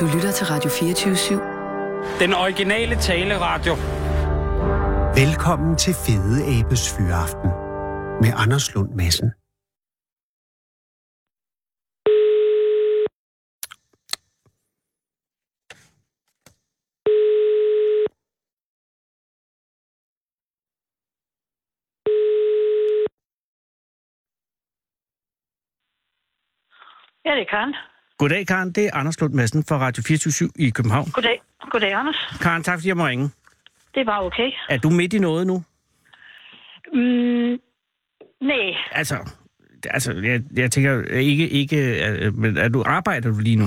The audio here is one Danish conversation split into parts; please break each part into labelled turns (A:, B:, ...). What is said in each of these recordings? A: Du lytter til Radio 24 /7.
B: Den originale taleradio.
C: Velkommen til Fede Abes Fyraften med Anders Lund Madsen.
D: Ja, det kan.
E: Goddag, Karen. Det er Anders Lund Madsen fra Radio 24 i København.
D: Goddag. Goddag, Anders.
E: Karen, tak fordi jeg må ringe.
D: Det er bare okay.
E: Er du midt i noget nu?
D: Mm, nej,
E: Altså, altså jeg, jeg tænker ikke... ikke øh, men er du, arbejder du lige nu?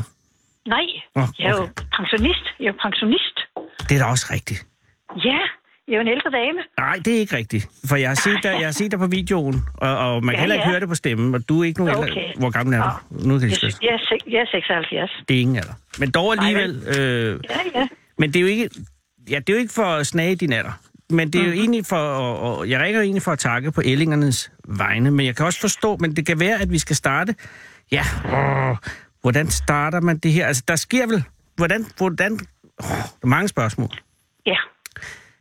D: nej.
E: Nå,
D: Jeg er jo
E: okay.
D: pensionist. Jeg er jo pensionist.
E: Det er da også rigtigt.
D: Ja, jeg er jo en ældre dame.
E: Nej, det er ikke rigtigt. For jeg har set dig, jeg har set dig på videoen, og, og man kan
D: Ja,
E: heller ikke
D: ja.
E: høre det på stemmen, og du er ikke nogen
D: Okay.
E: ældre. Hvor gammel er du? Nu
D: Jeg,
E: kan jeg spørge.
D: jeg, er, se- jeg er 76.
E: Det er ingen alder. Men dog alligevel... Øh,
D: Ja, ja.
E: Men det er jo ikke, ja, det er jo ikke for at snage din alder. Men det er jo mm-hmm. egentlig for, og, og jeg ringer jo egentlig for at takke på ællingernes vegne, men jeg kan også forstå, men det kan være, at vi skal starte. Ja, åh, hvordan starter man det her? Altså, der sker vel, hvordan, hvordan, åh, der er mange spørgsmål.
D: Ja,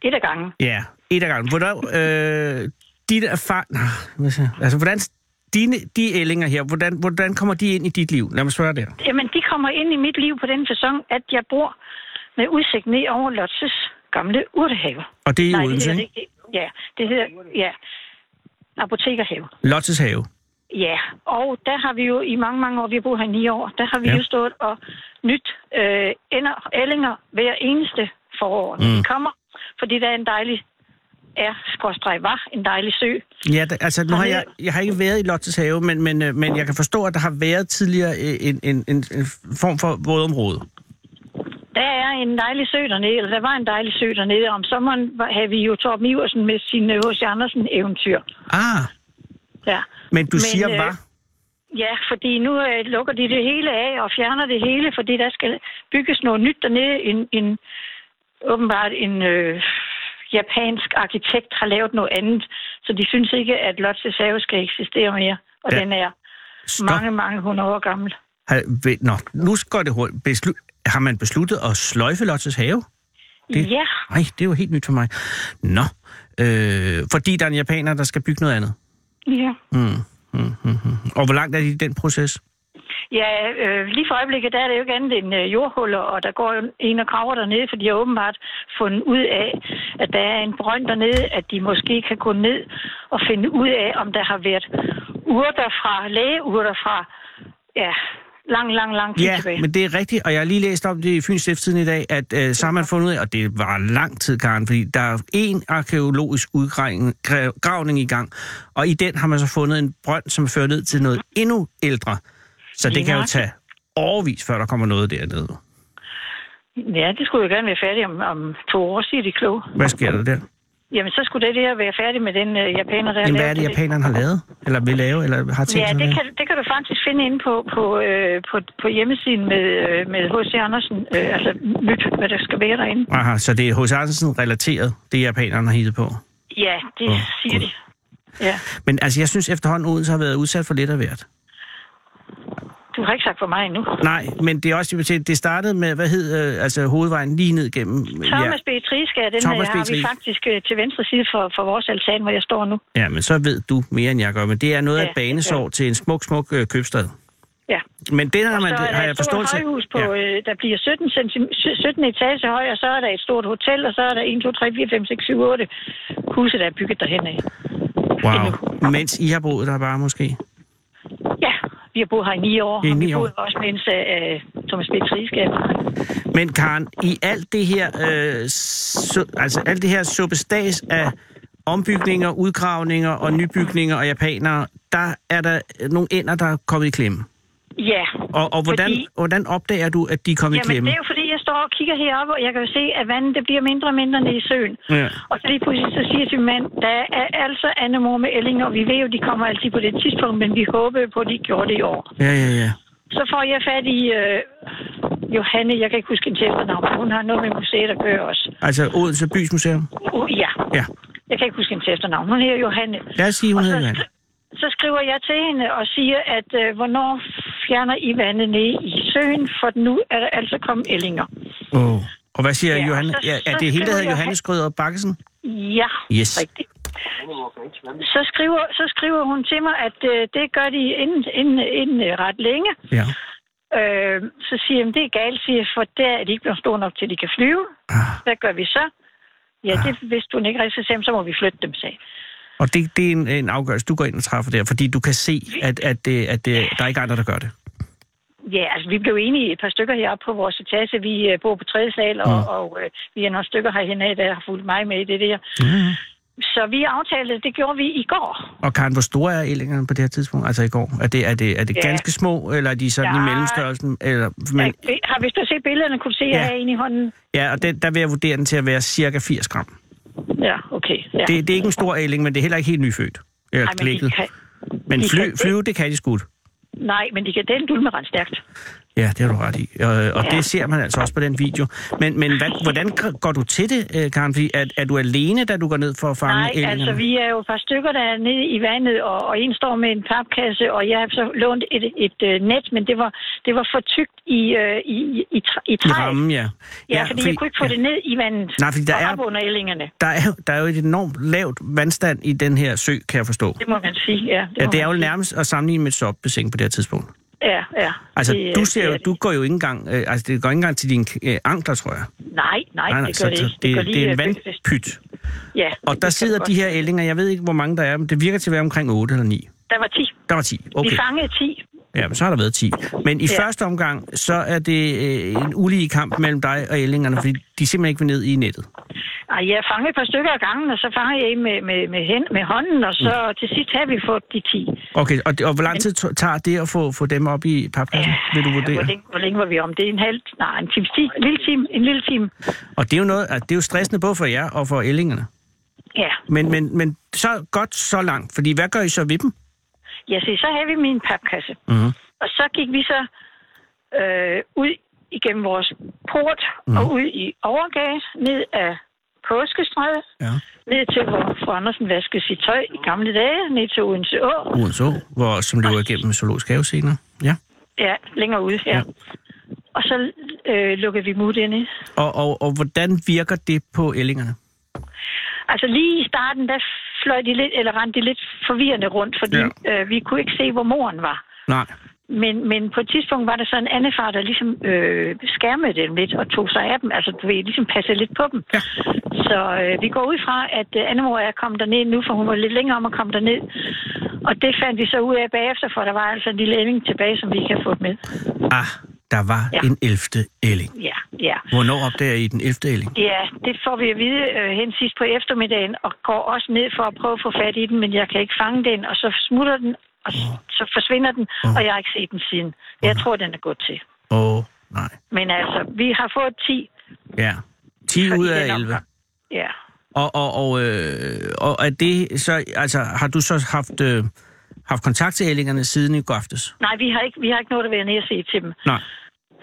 D: det er der gangen.
E: Ja, et af gangen. Hvordan, øh, dit erfar... Nå, hvad siger jeg? altså, hvordan, dine, de ællinger her, hvordan, hvordan kommer de ind i dit liv? Lad mig spørge der.
D: Jamen, de kommer ind i mit liv på den fasong, at jeg bor med udsigt ned over Lotses gamle urtehave.
E: Og det er i
D: det
E: Odense,
D: hedder
E: ikke?
D: det ikke. Ja, det hedder, ja, apotekerhave.
E: Lottes have.
D: Ja, og der har vi jo i mange, mange år, vi har boet her i ni år, der har vi
E: Ja.
D: ja. jo stået og nyt øh, ender, ællinger hver eneste forår, når mm. de kommer, fordi der er en dejlig er, skorstræk var, en dejlig sø.
E: Ja, da, altså nu
D: Og
E: har
D: det-
E: jeg, jeg har ikke været i Lottes have, men, men, øh, men jeg kan forstå, at der har været tidligere øh, en, en, en, en form for vådområde.
D: Der er en dejlig sø dernede, eller der var en dejlig sø dernede. Om sommeren var- havde vi jo Torben Iversen med sine H.C. Andersen-eventyr.
E: Ah,
D: Ja.
E: men du men,
D: Men,
E: siger
D: øh,
E: øh... hvad?
D: ja, fordi nu øh, lukker de det hele af og fjerner det hele, fordi der skal bygges noget nyt dernede. En, en, åbenbart en øh, japansk arkitekt har lavet noget andet, så de synes ikke, at Lotses have skal eksistere mere. Og
E: Ja.
D: ja. den er
E: Stop.
D: mange, mange hundrede år gammel.
E: Har, ved, nå, nu går det hurtigt. Beslu... Har man besluttet at sløjfe Lottes have? Det-
D: Ja,
E: Nej, det er jo helt nyt for mig. Nå, øh, fordi der er en japaner, der skal bygge noget andet. Mm,
D: ja.
E: Og hvor langt er de i den proces?
D: Ja, øh, lige for øjeblikket, der er det jo ikke andet end øh, jordhuller, og der går jo en og graver dernede, for de har åbenbart fundet ud af, at der er en brønd dernede, at de måske kan gå ned og finde ud af, om der har været urter fra, lægeurter fra, ja, lang, lang, lang tid
E: Ja,
D: tilbage.
E: men det er rigtigt, og jeg har lige læst om det i Fyns Stiftstiden i dag, at øh, så har man fundet ud af, og det var lang tid, Karen, fordi der er en arkeologisk udgravning i gang, og i den har man så fundet en brønd, som fører ned til noget endnu ældre. Så det
D: Lige
E: kan jo
D: nøjagtigt.
E: tage overvis, før der kommer noget dernede.
D: Ja, det skulle jo gerne være færdigt om, om to år, siger de kloge.
E: Hvad sker der der?
D: Jamen, så skulle det der være færdigt med den øh, japaner, der har
E: Jamen, hvad
D: lavet
E: er det, japanerne har lavet, eller vil lave, eller har tænkt
D: Ja,
E: sig at
D: det
E: lave?
D: kan, det kan du faktisk finde inde på, på, øh, på, på hjemmesiden med, øh, med H.C. Andersen. Øh, altså nyt, hvad der skal være derinde.
E: Aha, så det er hos Andersen relateret, det japanerne har hittet på.
D: Ja, det
E: Åh,
D: oh, siger
E: Gud.
D: de. Ja.
E: Men altså, jeg synes efterhånden, Odense har været udsat for lidt af hvert.
D: Du har ikke sagt for mig endnu.
E: Nej, men det er også, det vil sige, det startede med, hvad hed, øh, altså hovedvejen lige ned gennem... øh,
D: Thomas ja. Beatrice, den
E: Thomas
D: Thomas har vi
E: Beatrice.
D: faktisk øh, til venstre side for, for vores altan, hvor jeg står nu.
E: Ja, ja, men så ved du mere, end jeg gør, men det er noget af
D: Ja,
E: et banesår
D: ja.
E: til en smuk, smuk øh, købstad.
D: Ja.
E: Men det har,
D: Og
E: man,
D: så er
E: har
D: der
E: jeg
D: et stort
E: forståelse...
D: højhus, på,
E: ja.
D: øh, der bliver 17, centim- sy- 17 etage høj, og så er der et stort hotel, og så er der 1, 2, 3, 4, 5, 6, 7, 8 huse, der er bygget derhen af.
E: Wow. Mens I har boet der bare måske.
D: Ja, vi har boet her i ni år,
E: I
D: og
E: ni
D: vi
E: år.
D: boede også mens øh, Thomas Beatrice gav
E: Men Karen, i alt det her, øh, så, altså alt det her suppestas af ombygninger, udgravninger og nybygninger og japanere, der er der nogle ender, der er kommet i klemme.
D: Ja.
E: Og, og hvordan,
D: Fordi-
E: hvordan opdager du, at de er kommet i
D: Jamen,
E: klemme?
D: det er jo fordi, jeg står og kigger heroppe, og jeg kan jo se, at vandet det bliver mindre og mindre nede i søen.
E: Ja.
D: Og så lige pludselig så siger jeg til min mand, der er altså andemor med ællinger, og vi ved jo, de kommer altid på det tidspunkt, men vi håbede på, at de gjorde det i år.
E: Ja, ja, ja.
D: Så får jeg fat i øh, Johanne, jeg kan ikke huske hendes efternavn, men hun har noget med museet at gøre også.
E: Altså Odense Bys Museum?
D: Uh, ja,
E: Ja.
D: jeg kan ikke huske hendes efternavn. Hun hedder Johanne.
E: Lad os sige, hun
D: Og
E: hedder
D: så,
E: Johanne.
D: så skriver jeg til hende og siger, at øh, hvornår fjerner I vandet ned i søen, for nu er der altså kommet ællinger.
E: Oh. Og hvad siger
D: Ja,
E: ja,
D: og
E: Johan?
D: så-
E: Ja, er
D: så
E: det hende,
D: skriver
E: der hedder
D: jeg-
E: Johannes Grøder Bakkesen?
D: Ja,
E: Yes.
D: rigtigt. Så skriver, så skriver hun til mig, at øh, det gør de inden, inden, inden øh, ret længe.
E: Ja.
D: Øh, så siger jeg, "Men det er galt, siger jeg, for der er de ikke blevet store nok til, de kan flyve.
E: Ah.
D: Hvad gør vi så? Ja, det vidste hun ikke rigtig, så sagde hun, så må vi flytte dem, sagde jeg.
E: Og det, det er en, en afgørelse, du går ind og træffer der, fordi du kan se, at, at, det, at det, der er ikke andre, der gør det.
D: Ja, altså vi blev enige et par stykker heroppe på vores etage. Vi øh, bor på tredje sal, og, mm. og øh, vi er nogle stykker herhen, der har fulgt mig med i det der.
E: Mm.
D: Så vi aftalte, det gjorde vi i går.
E: Og Karen, hvor store er ællingerne på det her tidspunkt? Altså i går? Er det, er det, er det
D: Ja.
E: ganske små, eller er de sådan ja. i
D: Ja.
E: mellemstørrelsen? Eller, men,
D: Ja, øh, har hvis du set billederne, kunne du se, at
E: Ja.
D: jeg har en i hånden?
E: ja, og den, der vil jeg vurdere den til at være cirka 80 gram.
D: Ja, okay. Ja.
E: Det, det er ikke en stor ælling, men det er heller ikke helt nyfødt. Eller
D: Nej, men de
E: klækket.
D: kan,
E: Men
D: de
E: fly,
D: kan-
E: flyve, det kan de skudt.
D: nej, men de kan den dulme ret stærkt.
E: Ja, det har du ret i. Og, og
D: Ja.
E: det ser man altså også på den video. Men, men hvad, hvordan gr- går du til det, øh, Karen? Fordi er, er du alene, da du går ned for at fange
D: Nej,
E: ællingerne?
D: altså vi er jo et par stykker, der er nede i vandet, og, og en står med en papkasse, og jeg har så lånt et, et, øh, net, men det var, det var for tykt i, øh, i, i, i, træ- i
E: I
D: træet.
E: rammen, ja.
D: Ja, fordi, jeg kunne ikke få
E: ja.
D: det ned i vandet
E: Nej, fordi der
D: og
E: er-
D: op under ællingerne.
E: Der er, jo- der er jo et enormt lavt vandstand i den her sø, kan jeg forstå.
D: Det må man sige, ja.
E: Ja,
D: må
E: det er jo
D: man sige.
E: nærmest at sammenligne med et soppebassin på det her tidspunkt.
D: Ja, ja.
E: Altså,
D: Det,
E: du
D: øh,
E: ser jo,
D: det er
E: du går jo ikke engang, øh, altså det går ikke engang til dine øh, ankler, tror jeg.
D: det. Nej, nej, det gør
E: så,
D: det
E: så
D: ikke.
E: det,
D: gør
E: det, det er
D: lige,
E: en
D: øh, bølgefest.
E: vandpyt.
D: Ja,
E: Og
D: det
E: der
D: kan
E: sidder
D: godt.
E: de her ællinger, jeg ved ikke, hvor mange der er, men det virker til at være omkring 8 eller 9.
D: Der var 10.
E: Der var 10,
D: Okay.
E: okay.
D: Vi fangede 10.
E: Ja, men så har der været 10. Men i
D: Ja.
E: første omgang, så er det øh, en ulige kamp mellem dig og ællingerne, fordi de simpelthen ikke vil ned i nettet.
D: Ej, jeg fangede et par stykker af gangen, og så fangede jeg en med, med, med, hen, med hånden, og så
E: Mm.
D: til sidst har vi fået de 10.
E: Okay, og, og hvor lang tid to- tager det at få, få dem op i papkassen, vil du
D: Hvor
E: vurdere?
D: længe, hvor længe var vi om? Det er en halv... Nej, en time. Ti, en lille time. En lille time.
E: Og det er jo, noget, altså, det er jo stressende både for jer og for ællingerne.
D: Ja.
E: Men, men, men så godt så langt, fordi hvad gør I så ved dem?
D: Ja, se, så havde vi min papkasse.
E: Mhm.
D: Og så gik vi så øh, ud igennem vores port mm.
E: Mhm.
D: og ud i overgave ned af Påskestræde,
E: Ja.
D: ned til, hvor fru Andersen vaskede sit tøj i gamle dage, ned til Odense Å.
E: Odense hvor som løber igennem zoologisk have senere. Ja.
D: Ja, længere ude her. Ja.
E: Ja.
D: Og så øh, lukkede vi mut inde.
E: Og, og, og hvordan virker det på ællingerne?
D: Altså lige i starten, der fløj de lidt, eller rendte de lidt forvirrende rundt, fordi ja. øh, vi kunne ikke se, hvor moren var.
E: Nej.
D: Men, men på et tidspunkt var der så en anden far, der ligesom øh, skærmede dem lidt og tog sig af dem. Altså, du ved, ligesom passede lidt på dem. Ja. Så øh, vi går ud fra, at øh, Annemor er kommet derned nu, for hun var lidt længere om at komme derned. Og det fandt vi så ud af bagefter, for der var altså en lille ælling tilbage, som vi kan få med.
E: Ah, der var
D: Ja.
E: ja. en 11. ælling.
D: Ja, ja.
E: Hvornår opdager I den 11. ælling?
D: Ja, det får vi at vide øh, hen sidst på eftermiddagen, og går også ned for at prøve at få fat i den, men jeg kan ikke fange den, og så smutter den, og s- så forsvinder den, og jeg har ikke set den siden. Jeg tror, den er gået til.
E: Åh, oh, nej.
D: Men altså, vi har fået 10
E: Ja. 10
D: Fordi
E: ud
D: den
E: af
D: er
E: 11.
D: omgang. Ja.
E: Og, og, og, øh, og er det så, altså, har du så haft, øh, haft kontakt til ællingerne siden i går aftes?
D: Nej, vi har ikke, vi har ikke noget at være nede og se til dem.
E: Nej.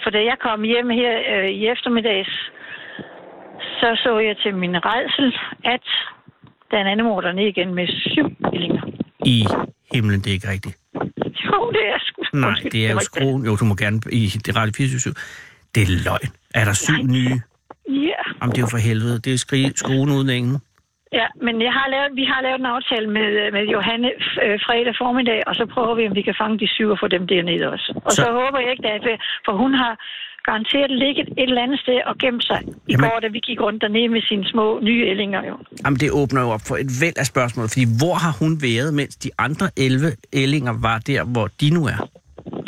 D: For da jeg kom hjem her øh, i eftermiddags, så så jeg til min redsel, at der er en anden mor dernede igen med syv billinger.
E: I himlen, det er ikke rigtigt.
D: Jo, det er sgu.
E: Nej,
D: Undskyld,
E: det er jo
D: var ikke
E: skruen. Jo, du må gerne i det rette 24 Det er løgn. Er der syv nye?
D: det. Ja.
E: Jamen, det er jo for helvede. Det er skri- skruen uden ingen.
D: Ja, men jeg har lavet, vi har lavet en aftale med, øh, med Johanne f- øh, fredag formiddag, og så prøver vi, om vi kan fange de syv og få dem dernede også. Og så, så
E: Så-
D: håber jeg ikke, at, øh, for hun har garanteret ligget et eller andet sted og gemt sig i
E: Jamen-
D: går, da vi gik rundt dernede med sine små nye ællinger. Jo.
E: Jamen, det åbner jo op for et væld af spørgsmål, fordi hvor har hun været, mens de andre 11 ællinger var der, hvor de nu er?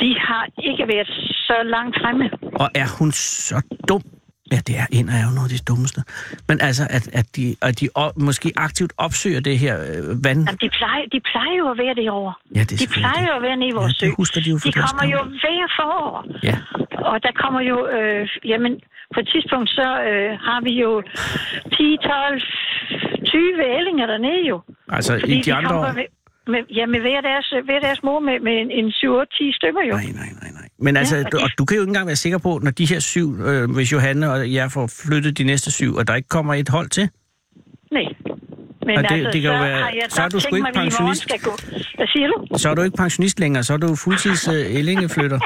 D: De har ikke været så langt fremme.
E: Og er hun så dum? Ja, det er en af jo noget af de dummeste. Men altså, at, at de, at de op, måske aktivt opsøger det her øh, vand...
D: Jamen, de, plejer, de plejer jo at være derovre.
E: Ja, det er
D: de
E: selvfølgelig
D: plejer
E: det.
D: jo at være nede i
E: Ja,
D: vores
E: det
D: sø.
E: husker de jo fra
D: de
E: deres
D: kommer jo
E: gamle.
D: hver forår.
E: Ja.
D: Og der kommer jo, øh, jamen, på et tidspunkt, så øh, har vi jo 10, 12, 20 ællinger dernede jo.
E: Altså,
D: Fordi
E: i de andre
D: kommer
E: år...
D: Med, med, ja, med hver deres, hver deres mor med, med en, en 7-8-10 stykker jo.
E: Nej, nej, nej, nej. Men altså,
D: og
E: du,
D: det-
E: og du kan jo ikke engang være sikker på, når de her syv, øh, hvis Johanne og jeg får flyttet de næste syv, og der ikke kommer et hold til.
D: Nej. Men
E: Og det-
D: altså,
E: det kan
D: så
E: jo være-
D: har jeg
E: så er
D: nok
E: du sgu
D: tænkt
E: ikke
D: mig, at vi i morgen
E: pensionist.
D: skal gå. Hvad siger du?
E: Så er du ikke pensionist længere, så er du fuldtids øh, ællingeflytter.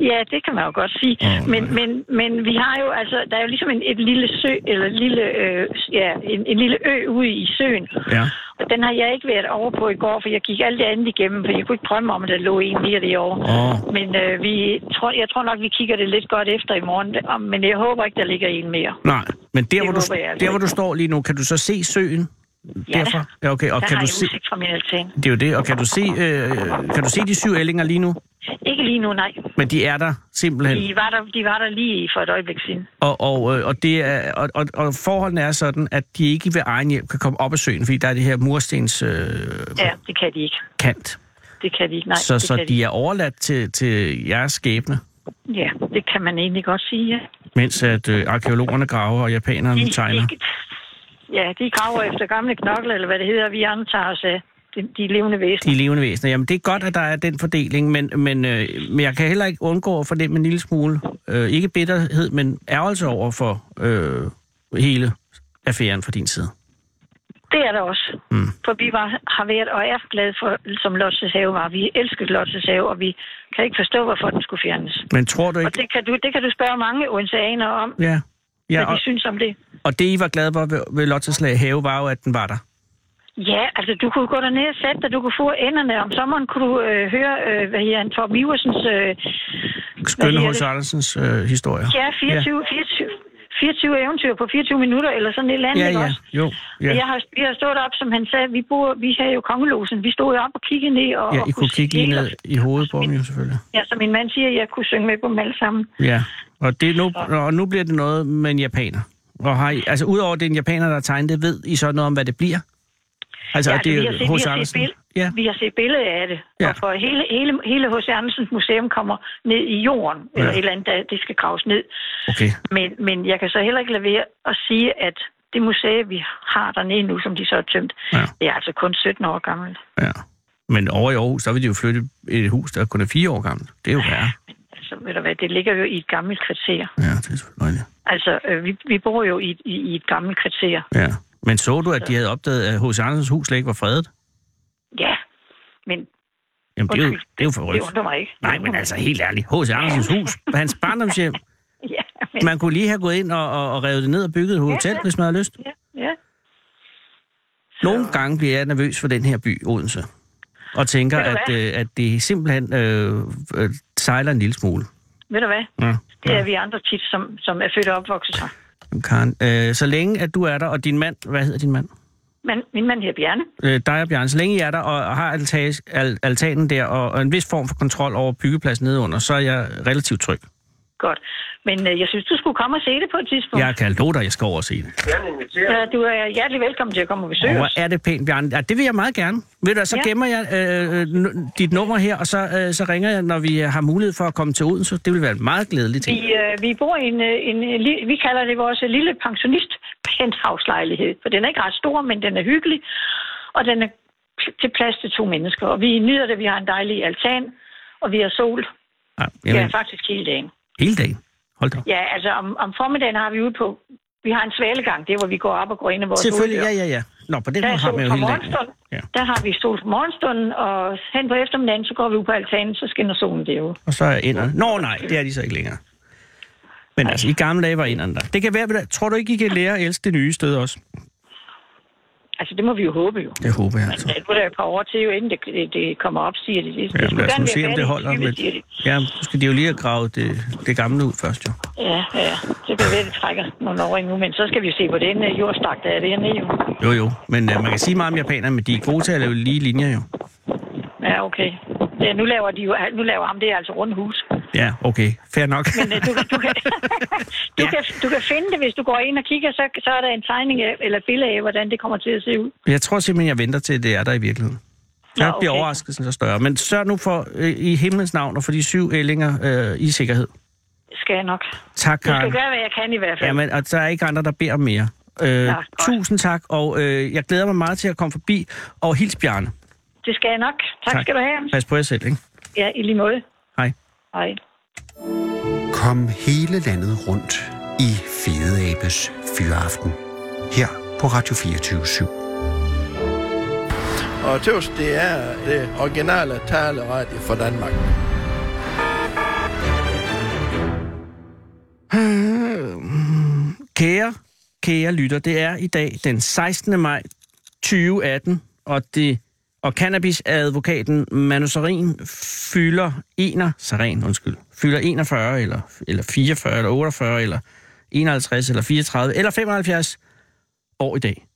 D: Ja, det kan man jo godt sige.
E: Åh,
D: Oh, men, men, men vi har jo, altså, der er jo ligesom en, et lille sø, eller et lille, øh, ja, en, en lille ø ude i søen.
E: Ja.
D: Og den har jeg ikke været over på i går, for jeg gik alt det andet igennem, for jeg kunne ikke drømme om, at der lå en lige derovre.
E: Åh.
D: Men øh, vi tror, jeg tror nok, vi kigger det lidt godt efter i morgen, om- men jeg håber ikke, der ligger en mere.
E: Nej, men der,
D: Det
E: hvor, du,
D: håber jeg altså
E: der, hvor
D: ikke.
E: du står lige nu, kan du så se søen?
D: Ja,
E: Derfra? Ja, okay. Og
D: der
E: kan
D: har jeg
E: du se,
D: udsigt fra min altan.
E: det er jo det, og kan du se, øh, kan du se de syv ællinger lige nu?
D: Ikke lige nu, nej.
E: Men de er der simpelthen.
D: De var der, de var der lige for et øjeblik siden.
E: Og, og, øh, og, det er, og, og, og forholdene er sådan, at de ikke ved egen hjælp kan komme op af søen, fordi der er det her murstens øh,
D: Ja, det kan de ikke.
E: kant.
D: Det kan de ikke, nej.
E: så
D: det
E: så
D: kan
E: de er overladt til, til jeres skæbne,
D: Ja, det kan man egentlig godt sige, ja.
E: mens at øh, arkeologerne graver og japanerne tegner.
D: de- ja, de graver efter gamle knokler, eller hvad det hedder, vi andre tager os af. De, de er levende væsener.
E: De levende væsener. Jamen, det er godt, at der er den fordeling, men, men, øh, men jeg kan heller ikke undgå at fornemme en lille smule, øh, ikke bitterhed, men ærgelse over for øh, hele affæren fra din side.
D: Det er der også. Mm. For vi var, har været og er glade for, som Lottes have var. Vi elskede Lottes have, og vi kan ikke forstå, hvorfor den skulle fjernes.
E: Men tror du
D: Og
E: ikke...
D: det kan du, det kan du spørge mange odenseaner om,
E: Ja.
D: ja,
E: ja
D: hvad
E: og,
D: de synes om det.
E: og det, I var glade for ved, ved Lotteslag Have, var jo, at den var der.
D: Ja, altså du kunne gå derned og sætte dig, du kunne få enderne. Om sommeren kunne du øh, høre, øh, hvad hedder han, Torben Iversens øh,
E: Skønne
D: hedder
E: hos
D: det?
E: Andersens øh, historier.
D: Ja, 24, 24, 24 eventyr på 24 minutter, eller sådan et eller andet,
E: Ja,
D: ikke
E: ja,
D: også?
E: jo.
D: Ja. Jeg
E: Ja,
D: har, vi har stået op, som han sagde, vi, bor, vi havde jo kongelosen. Vi stod jo op og kiggede ned. Og,
E: ja
D: og
E: I kunne
D: se
E: kigge lige
D: det hele.
E: ned i hovedet på dem jo selvfølgelig.
D: Ja, som min mand siger, jeg kunne synge med på dem alle sammen.
E: Ja, og, det er nu, og nu bliver det noget med en japaner. Og har I, altså udover at det er en japaner, der har tegnet det, ved I så noget om, hvad det bliver? Altså,
D: Ja,
E: ja, det
D: vi
E: er
D: har set-
E: det
D: vi
E: hos
D: har set
E: Andersen?
D: bill-
E: Ja,
D: Vi har set billeder af det.
E: Ja.
D: Ja. Og for hele, hele, hele H.C. Andersens museum kommer ned i jorden, ja. eller et
E: Ja.
D: eller andet, der, det skal graves ned.
E: okay.
D: Men, men jeg kan så heller ikke lade være at sige, at det museum, vi har dernede nu, som de så har tømt,
E: Ja.
D: ja. det er altså kun 17 år gammelt.
E: Ja. Men over i Aarhus, der vil de jo flytte et hus, der kun er fire år gammelt. Det er jo værre.
D: Altså, ved du hvad, det ligger jo i et gammelt kvarter.
E: Ja, det er selvfølgelig rigtigt.
D: Altså, øh, vi, vi bor jo i, i, i et gammelt kvarter.
E: Ja. Men så du, at de havde opdaget, at H.C. Andersens hus slet ikke var fredet?
D: Ja, men
E: Jamen, det er jo,
D: Undskyld.
E: det er jo
D: det
E: forrygt.
D: undrer mig ikke.
E: Nej, men altså helt ærligt. H.C. Andersens hus, hans barndomshjem.
D: Ja, men,
E: Man kunne lige have gået ind og, og, og revet det ned og bygget et hotel, hvis man havde lyst.
D: ja, ja.
E: Nogle gange bliver jeg nervøs for den her by, Odense, og tænker,
D: Ved du
E: at,
D: hvad?
E: øh, at det simpelthen øh, øh, sejler en lille smule.
D: Ved du hvad?
E: Ja.
D: Det er vi andre tit, som, som er født og opvokset her.
E: Karen, øh, så længe at du er der, og din mand, hvad hedder din mand?
D: Men min mand hedder Bjerne.
E: Øh, dig og Bjørn, så længe I er der og, og har altage, al, altanen der, og, og en vis form for kontrol over byggepladsen nedenunder, så er jeg relativt tryg.
D: Godt. Men øh, jeg synes, du skulle komme og se det på et tidspunkt.
E: Jeg kan love dig, jeg skal over og se det.
D: Ja, du er hjertelig velkommen til at komme og
E: Og
D: besøge
E: Hvor
D: os.
E: er det pænt, Bjørn. Ja, det vil jeg meget gerne. Ved du, hvad, så
D: Ja.
E: gemmer jeg øh, øh, nu- dit nummer her, og så, øh, så ringer jeg, når vi har mulighed for at komme til Odense. Det vil være en meget glædelig ting.
D: Vi, øh, vi bor i en, øh, en, øh, li- vi kalder det vores øh, lille pensionist penthouse-lejlighed, for den er ikke ret stor, men den er hyggelig, og den er pl- til plads til to mennesker, og vi nyder det, vi har en dejlig altan, og vi har sol,
E: Ja,
D: ja,
E: jamen,
D: faktisk hele dagen.
E: hele dagen. Hold da op.
D: Ja, altså om, om formiddagen har vi ude på, vi har en svalegang, det er, hvor vi går op og går ind i vores
E: Selvfølgelig, ja,
D: udendør.
E: ja, ja. Nå, på den
D: Der
E: måde
D: er
E: har
D: sol
E: man jo
D: fra
E: hele dagen.
D: morgenstunden,
E: Ja.
D: der har vi sol fra morgenstunden, og hen på eftermiddagen, så går vi ud på altanen, så skinner solen derude.
E: Og så er inderne. Nå nej, det er de så ikke længere. Men altså, i gamle dage var inderne der. Det kan være, ved du- tror du ikke, I kan lære at elske det nye sted også?
D: Altså, det må vi jo håbe jo.
E: Det håber jeg
D: Altså,
E: altså.
D: det er der et par år til, jo, inden det, det, det kommer op, siger de. Det, det
E: Ja,
D: skulle
E: lad os
D: gerne
E: nu
D: være
E: se, om
D: færdigt
E: det
D: i
E: holder.
D: 20,
E: Men,
D: siger de.
E: ja, nu skal de jo lige have gravet det, det gamle ud først, jo.
D: Ja, ja. Det kan være, det trækker nogle år endnu, men så skal vi se, hvor den øh, jordstak, der er det hernede. Jo.
E: Jo, jo. Men uh, man kan sige meget om japanerne, men de er gode til at lave lige linjer, jo.
D: Ja, okay. Ja, nu laver de jo, nu laver ham det altså rundt hus.
E: Ja, okay. Fair nok.
D: Men øh, du, kan- du, kan, du,
E: Ja.
D: kan, du kan finde det, hvis du går ind og kigger, så, så er der en tegning af, eller et billede af, hvordan det kommer til at se ud.
E: Jeg tror simpelthen, jeg venter til, det er der i virkeligheden.
D: Nå,
E: Nok bliver
D: okay.
E: overraskelsen så større. Men sørg nu for, øh, i himlens navn, og for de syv ællinger øh, i sikkerhed.
D: Skal jeg nok.
E: Tak,
D: Jeg
E: Karen.
D: skal gøre, hvad jeg kan i hvert fald.
E: Jamen, og der er ikke andre, der beder om mere. Øh,
D: godt.
E: tusind tak, og øh, jeg glæder mig meget til at komme forbi. Og hils Bjarne.
D: Det skal jeg nok. Tak,
E: Tak.
D: tak. skal du have.
E: Pas på jer selv, ikke?
D: Ja, i lige måde.
E: Hej.
D: Hej.
C: Kom hele landet rundt i Fede Abes Fyraften. Her på Radio 24 /7.
A: Og tøvs, det er det originale taleradio for Danmark.
E: Kære, kære lytter, det er i dag den 16. maj 2018, og det og cannabisadvokaten Manu Sarin fylder, ener, Sarin, undskyld, fylder 41, eller, eller 44, eller 48, eller 51, eller 34, eller 75 år i dag.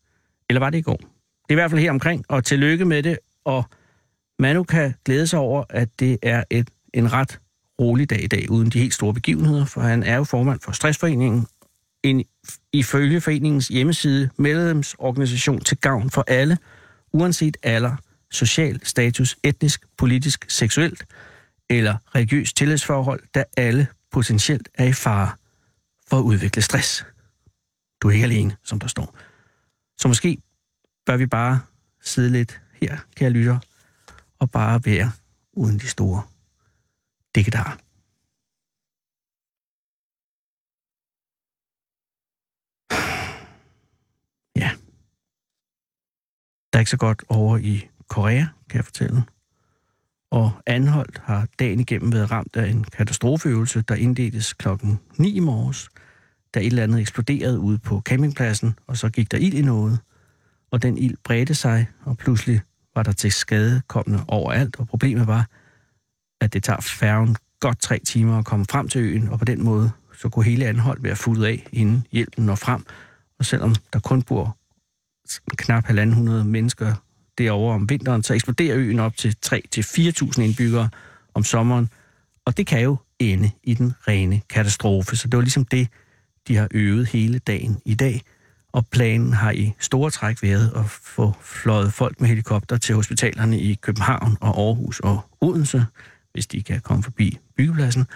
E: Eller var det i går? Det er i hvert fald her omkring, og tillykke med det, og Manu kan glæde sig over, at det er et, en ret rolig dag i dag, uden de helt store begivenheder, for han er jo formand for Stressforeningen, en, ifølge foreningens hjemmeside, medlemsorganisation til gavn for alle, uanset alder, social status, etnisk, politisk, seksuelt eller religiøst tillidsforhold, da alle potentielt er i fare for at udvikle stress. Du er ikke alene, som der står. Så måske bør vi bare sidde lidt her, kære lytter, og bare være uden de store diggedarer. Ja. Der er ikke så godt over i Korea, kan jeg fortælle. Og Anholdt har dagen igennem været ramt af en katastrofeøvelse, der indledtes klokken 9 i morges, da et eller andet eksploderede ude på campingpladsen, og så gik der ild i noget, og den ild bredte sig, og pludselig var der til skade kommende overalt, og problemet var, at det tager færgen godt tre timer at komme frem til øen, og på den måde så kunne hele Anholdt være fuldt af, inden hjælpen når frem. Og selvom der kun bor knap 1.500 mennesker derovre om vinteren, så eksploderer øen op til 3-4.000 indbyggere om sommeren, og det kan jo ende i den rene katastrofe. Så det var ligesom det, de har øvet hele dagen i dag, og planen har i store træk været at få fløjet folk med helikopter til hospitalerne i København og Aarhus og Odense, hvis de kan komme forbi byggepladsen.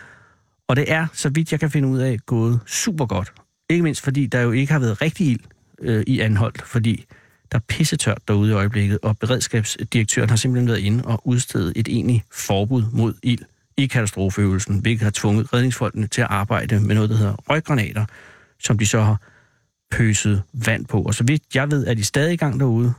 E: Og det er, så vidt jeg kan finde ud af, gået super godt. Ikke mindst fordi der jo ikke har været rigtig ild øh, i Anholdt, fordi der er pissetørt derude i øjeblikket, og beredskabsdirektøren har simpelthen været inde og udstedet et egentligt forbud mod ild i katastrofeøvelsen, hvilket har tvunget redningsfolkene til at arbejde med noget, der hedder røggranater, som de så har pøset vand på. Og så vidt jeg ved, er de stadig i gang derude.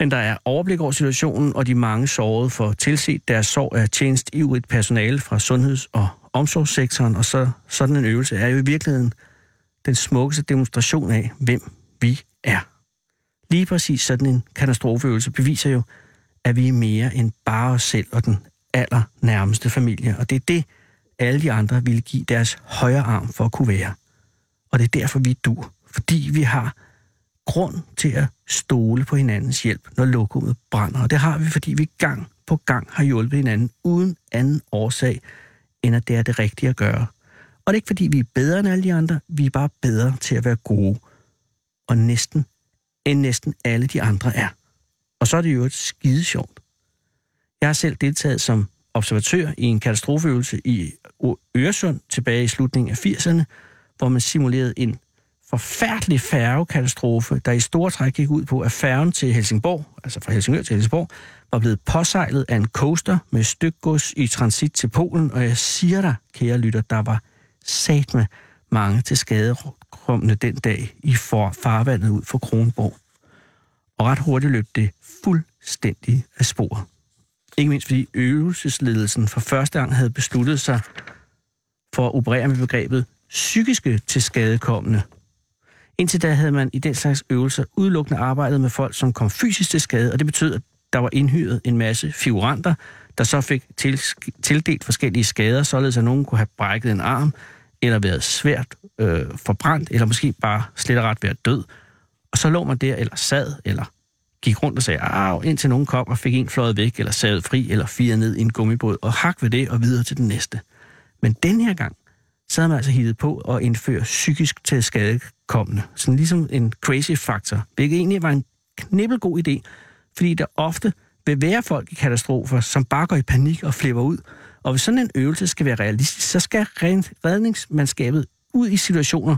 E: Men der er overblik over situationen, og de mange sårede får tilset deres sorg af tjenest i et personale fra sundheds- og omsorgssektoren, og så sådan en øvelse er jo i virkeligheden den smukkeste demonstration af, hvem vi er. Lige præcis sådan en katastrofeøvelse beviser jo, at vi er mere end bare os selv og den allernærmeste familie, og det er det, alle de andre ville give deres højre arm for at kunne være. Og det er derfor, vi dur. Fordi vi har grund til at stole på hinandens hjælp, når lokummet brænder. Og det har vi, fordi vi gang på gang har hjulpet hinanden uden anden årsag, end at det er det rigtige at gøre. Og det er ikke, fordi vi er bedre end alle de andre. Vi er bare bedre til at være gode. Og næsten, end næsten alle de andre er. Og så er det jo et skide sjovt. Jeg har selv deltaget som observatør i en katastrofeøvelse i Ø- Øresund tilbage i slutningen af 80'erne, hvor man simulerede en forfærdelig færgekatastrofe, der i store træk gik ud på, at færgen til Helsingborg, altså fra Helsingør til Helsingborg, var blevet påsejlet af en coaster med stykgods i transit til Polen, og jeg siger dig, kære lytter, der var sat med mange til skadekommende den dag i for farvandet ud for Kronborg. Og ret hurtigt løb det fuldstændig af sporet. Ikke mindst fordi øvelsesledelsen for første gang havde besluttet sig for at operere med begrebet psykiske tilskadekommende. Indtil da havde man i den slags øvelser udelukkende arbejdet med folk, som kom fysisk til skade, og det betød, at der var indhyret en masse figuranter, der så fik til, tildelt forskellige skader, således at nogen kunne have brækket en arm, eller været svært øh, forbrændt, eller måske bare slet og ret været død. Og så lå man der, eller sad, eller gik rundt og sagde, Arv, indtil nogen kom og fik en fløjet væk, eller savet fri, eller firet ned i en gummibåd, og hak ved det og videre til den næste. Men den her gang, så havde man altså hittet på at indføre psykisk til skadekommende. Sådan ligesom en crazy factor, hvilket egentlig var en knibbelgod idé, fordi der ofte vil være folk i katastrofer, som bare går i panik og flipper ud. Og hvis sådan en øvelse skal være realistisk, så skal ren- redningsmandskabet ud i situationer,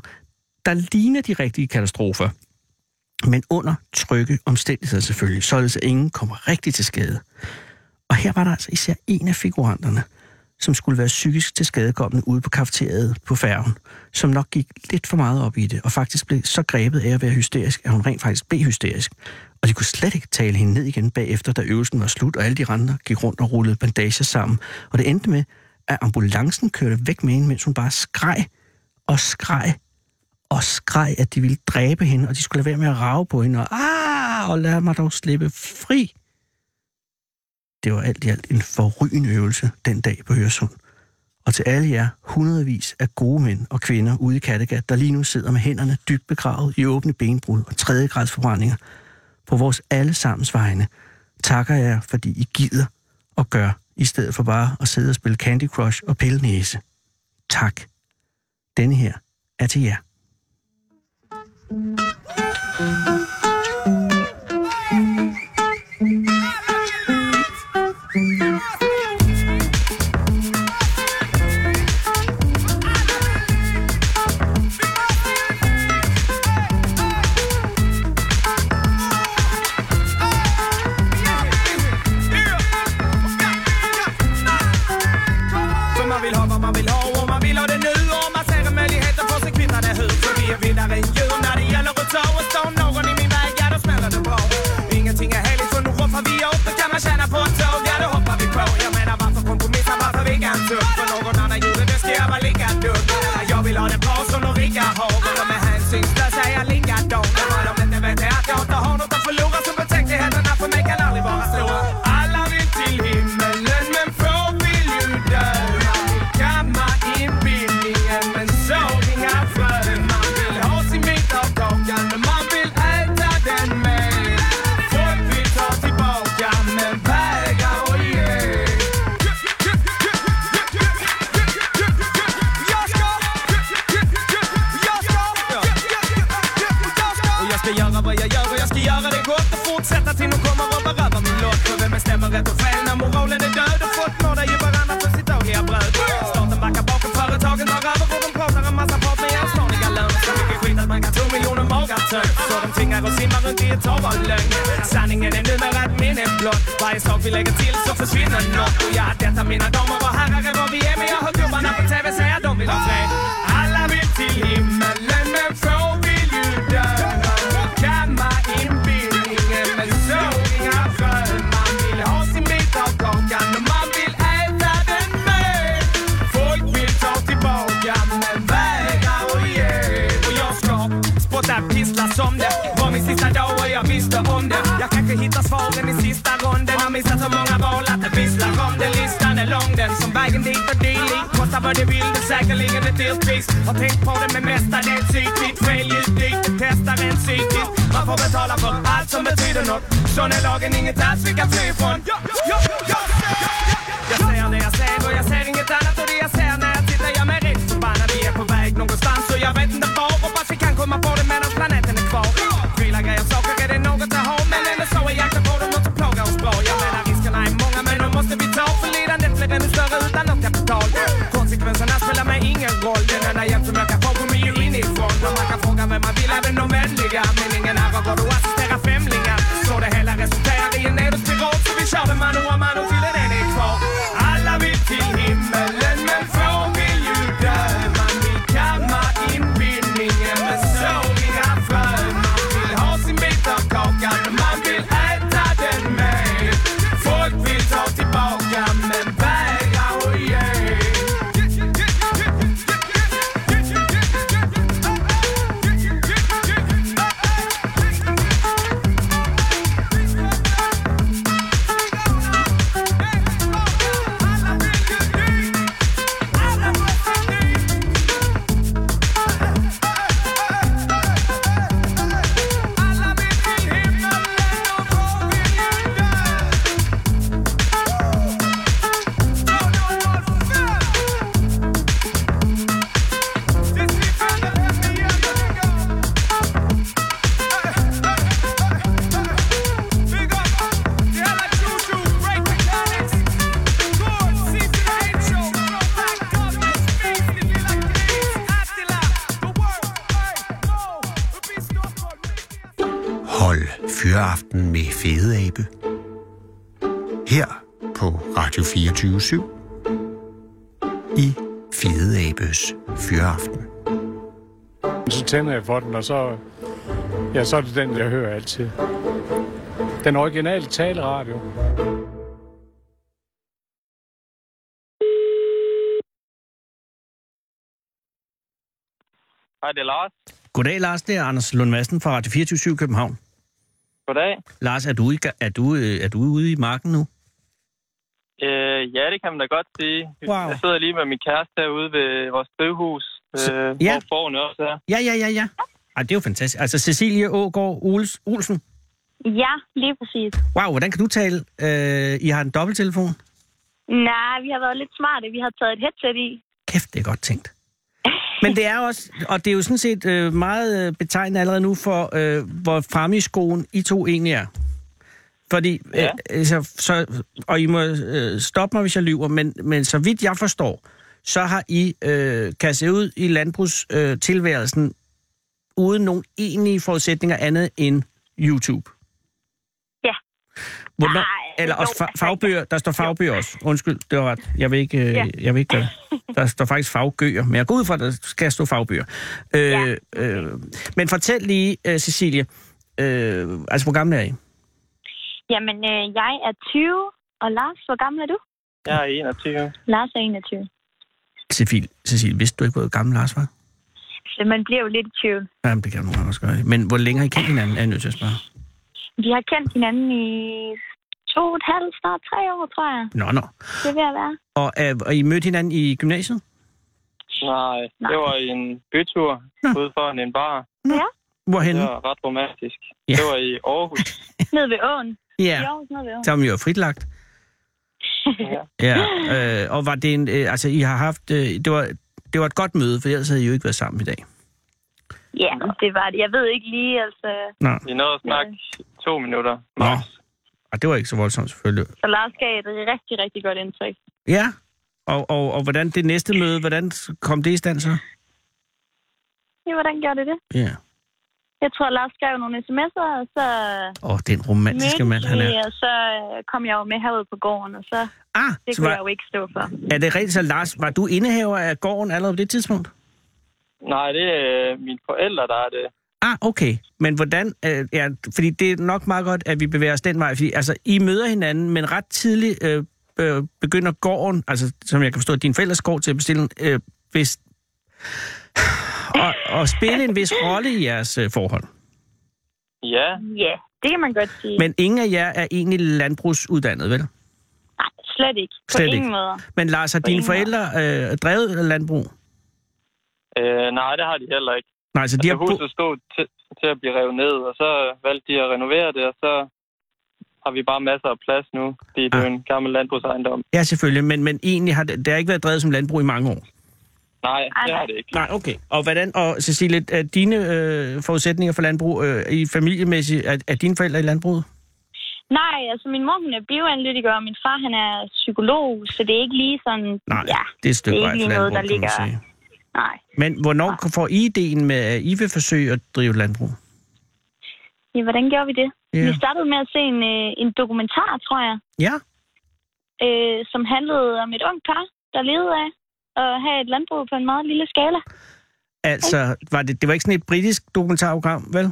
E: der ligner de rigtige katastrofer, men under trygge omstændigheder selvfølgelig, således at ingen kommer rigtig til skade. Og her var der altså især en af figuranterne, som skulle være psykisk tilskadekommende ude på kafeteriet på færgen, som nok gik lidt for meget op i det, og faktisk blev så grebet af at være hysterisk, at hun rent faktisk blev hysterisk. Og de kunne slet ikke tale hende ned igen bagefter, da øvelsen var slut, og alle de andre gik rundt og rullede bandager sammen. Og det endte med, at ambulancen kørte væk med hende, mens hun bare skreg og skreg og skreg, at de ville dræbe hende, og de skulle lade være med at rave på hende, og, ah, og lad mig dog slippe fri. Det var alt i alt en forrygende øvelse den dag på Øresund. Og til alle jer hundredvis af gode mænd og kvinder ude i Kattegat, der lige nu sidder med hænderne dybt begravet i åbne benbrud og tredjegradsforbrændinger, på vores allesammens vegne, takker jeg jer, fordi I gider og gør, i stedet for bare at sidde og spille Candy Crush og pille næse. Tak. Denne her er til jer.
A: För man vill ha vad man vill ha och man vill ha det nu Och man ser en möjlighet att få sig kvittade hus För vi är vinnare än djur när det gäller att ta och stå någon i min väg, ja då smäller det bra Ingenting är heligt så nu roffar vi upp Det kan man tjäna på ett tåg, ja då hoppar vi på Jag menar varför kompromissa, varför vigga en tupp? För någon annan gjorde det ska jag vara lika dum Jag vill ha det bra som de rika har Men de är hänsynslösa, är jag likadan Och vad de inte vet är att jag inte har något att förlora Så betänkligheterna för mig kan aldrig vara stora Alla vill till himmelen men få vill ju dö Man vill kamma inbillningen men såg inga frön Man vill ha sin bit av kakan men man vill äta den med Folk vill ta tillbaka men vägrar att ge Jag ska, jag ska, jag ska och jag ska göra vad jag gör och jag ska göra det gott och fortsätta till de kommer och berövar min lott. För vem bestämmer rätt och fel när moralen är död och folk mordar ju varandra för sitt dagliga bröd. Staten backar bakom, företagen tar över och de pratar en massa prat med ansvariga löner. Så mycket skit att man kan tro miljoner magar töms. Så de tvingar och simmar runt i ett hav av lögn. Sanningen är numera ett minne blott. Varje sak vi lägger till så försvinner något. Och ja, detta mina damer och herrar är vad vi är. Men jag hör gubbarna på TV säga de vill ha fred. Alla vill till himmelen men få vill ju dö. Kamma inbillningen men så inga frön. Man vill ha sin bit av kakan och man vill äta den med. Folk vill ta tillbaka men vägrar att ge. Och jag ska spotta pissla som det. Var min sista dag och jag visste om det. Jag kanske hittar svaren i sista ronden. Har missat så många val att det visslar om det. Listan är lång den som vägen dit och dylikt. Kosta vad du vill, det är säkerligen ett dyrt pris. Har tänkt på det men mestadels ytligt. Skäl ju dyrt, det testar en psykiskt. Man får betala för allt som betyder något. Sån är lagen, inget alls vi kan fly ifrån. Ja, ja, ja, ja, ja, ja, ja. Jag ser det jag ser och jag ser inget annat och det jag ser när jag tittar gör mig rätt förbannad. Vi är på väg någonstans och jag vet inte var. Hoppas vi kan komma på det medan planeten är kvar. Prylar, grejer, saker är det något jag har. Men eller så är jakten på dem något som plågar oss bra. Jag menar riskerna är många men de måste vi ta. För lidandet blir ännu större utan något kapital. Konsekvenserna spelar mig ingen roll. Den enda hjälp som jag kan få kommer ju inifrån. Och man kan fråga vem man vill, även de vänliga. Men ingen ära går att assistera femlingar. Så det hela resulterar i en nedåtspiral. Så vi kör det mano a mano till en är kvar. Alla vill till himmelen men få vill ju dö. Man vill kamma inbindningen men så inga frön. Man vill ha sin bit av kakan och man vill äta den med. Folk vill ta tillbaka men vägrar att ge.
C: Hold Fyraften med Fede Abe. Her på Radio 24 i Fede Abes Fyraften.
F: Så tænder jeg for den, og så, ja, så er det den, jeg hører altid. Den originale taleradio.
G: Hej, det er Lars.
E: Goddag, Lars. Det er Anders Lund Madsen fra Radio 24 København.
G: Goddag.
E: Lars, er du, i, ga- er du, øh, er du ude i marken nu?
G: Øh, ja, det kan man da godt sige.
E: Wow.
G: Jeg sidder lige med min kæreste herude ved vores drivhus,
E: Så-
G: øh,
E: ja.
G: hvor forne også er.
E: Ja, ja, ja, ja. Ej, det er jo fantastisk. Altså, Cecilie Ågaard Ols- Olsen.
D: Ja, lige præcis.
E: Wow, hvordan kan du tale? Øh, I har en dobbelttelefon.
D: Nej, vi har været lidt smarte. Vi har taget et headset i.
E: Kæft, det er godt tænkt. Men det er også, og det er jo sådan set øh, meget øh, betegnende allerede nu for, øh, hvor fremme i skoen I to egentlig er. Fordi, ja.
G: Ja.
E: øh, så, så, og I må øh, stoppe mig, hvis jeg lyver, men, men så vidt jeg forstår, så har I øh, kastet ud i landbrugstilværelsen øh, tilværelsen uden nogen egentlige forudsætninger andet end YouTube.
D: Ja.
E: Hvornår,
D: Nej,
E: eller
D: jo,
E: også fa-
D: altså,
E: fagbøger. Der står fagbøger også. Undskyld, det var ret. Jeg vil ikke, øh,
D: Ja.
E: jeg vil ikke gøre det. Der står faktisk faggøer, men jeg går ud fra, at der skal stå fagbøger. Øh,
D: Ja.
E: øh, men fortæl lige, øh, Cecilie, øh, altså hvor gammel er I?
D: Jamen, øh, jeg er 20, og Lars, hvor gammel er du?
G: Jeg er 21.
D: Lars er 21.
E: Cecilie, Cecilie vidste du ikke, hvor gammel Lars var?
D: Så man bliver jo lidt i tvivl.
E: Jamen, det kan du også gøre. Men hvor længe har I kendt hinanden, er jeg nødt til at spørge.
D: Vi har kendt hinanden i to og et halvt, snart tre år, tror jeg.
E: Nå, nå.
D: Det vil jeg være.
E: Og, øh, og I mødte hinanden i gymnasiet?
G: Nej,
D: Nej.
G: øh, det var en bytur
E: Hm.
G: ude for en bar.
E: Hvorhenne?
G: Det
E: Ja.
G: var ret romantisk.
E: Ja.
G: Ja. Det var i Aarhus.
D: Ned ved åen.
E: ja.
D: Ja. Jo, ned ved åen.
E: Så er man jo fritlagt.
G: Ja.
E: Ja, øh, og var det en, øh, altså I har haft, øh, det, var, det var et godt møde, for ellers havde I jo ikke været sammen i dag.
D: Ja, det var det. Jeg ved ikke lige, altså...
E: Nej,
G: Vi nåede at snakke to minutter.
E: Nå.
G: max.
E: og det var ikke så voldsomt selvfølgelig.
D: Så Lars gav et rigtig, rigtig godt indtryk.
E: Ja, og, og, og hvordan det næste møde, hvordan kom det i stand så?
D: Ja, hvordan gjorde det det?
E: Ja,
D: Jeg tror, Lars skrev nogle sms'er, og så
E: og den romantiske mand, han
D: vi,
E: er.
D: og så øh, kom jeg jo med herud på gården, og så
E: Ah,
D: det
E: så
D: kunne jeg
E: var,
D: jo ikke stå for.
E: er det rigtigt, så Lars, var du indehaver af gården allerede på det tidspunkt?
G: Nej, det er øh, mine forældre, der er det.
E: Ah, okay. Men hvordan, øh, ja, fordi det er nok meget godt, at vi bevæger os den vej, fordi altså, I møder hinanden, men ret tidligt øh, øh, begynder gården, altså som jeg kan forstå, din forældres gård til at bestille, øh, hvis, og, og spille en vis rolle i jeres øh, forhold.
G: Ja,
D: Ja, det kan man godt sige. Men...
E: Men ingen af jer er egentlig landbrugsuddannet, vel?
D: Nej, slet ikke. På
E: Slet
D: ingen
E: ikke.
D: måde.
E: Men Lars, har dine
D: ingen måde.
E: forældre øh, drevet landbrug?
G: øh, nej, det har de heller ikke.
E: Nej, så de
G: De
E: har...
G: altså,
E: bo-
G: huset stod til, til at blive revet ned, og så valgte de at renovere det, og så har vi bare masser af plads nu, fordi det
E: Ah.
G: er jo en gammel landbrugsejendom.
E: Ja, selvfølgelig, men, men egentlig har det, det har ikke været drevet som landbrug i mange år.
G: Nej,
D: Ej,
G: det
D: nej.
G: har det ikke.
E: Nej, okay. Og hvordan, og Cecilie, er dine øh, forudsætninger for landbrug øh, i familiemæssigt, er, er dine forældre i landbruget?
D: Nej, altså min mor, hun er bioanalytiker, og min far, han er psykolog, så det er ikke lige sådan...
E: Nej,
D: Ja,
E: det er et stykke
D: det er
E: vej
D: ikke
E: fra
D: lige noget,
E: landbrug,
D: der
E: kan man
D: ligger-
E: sige.
D: nej.
E: Men hvornår får I ideen med, at I vil forsøge at drive landbrug?
D: Ja, hvordan gjorde vi det?
E: Ja.
D: Vi startede med at se en, øh, en dokumentar, tror jeg,
E: Ja,
D: øh, som handlede om et ungt par, der levede af at have et landbrug på en meget lille skala.
E: altså, var det, det var ikke sådan et britisk dokumentarprogram, vel?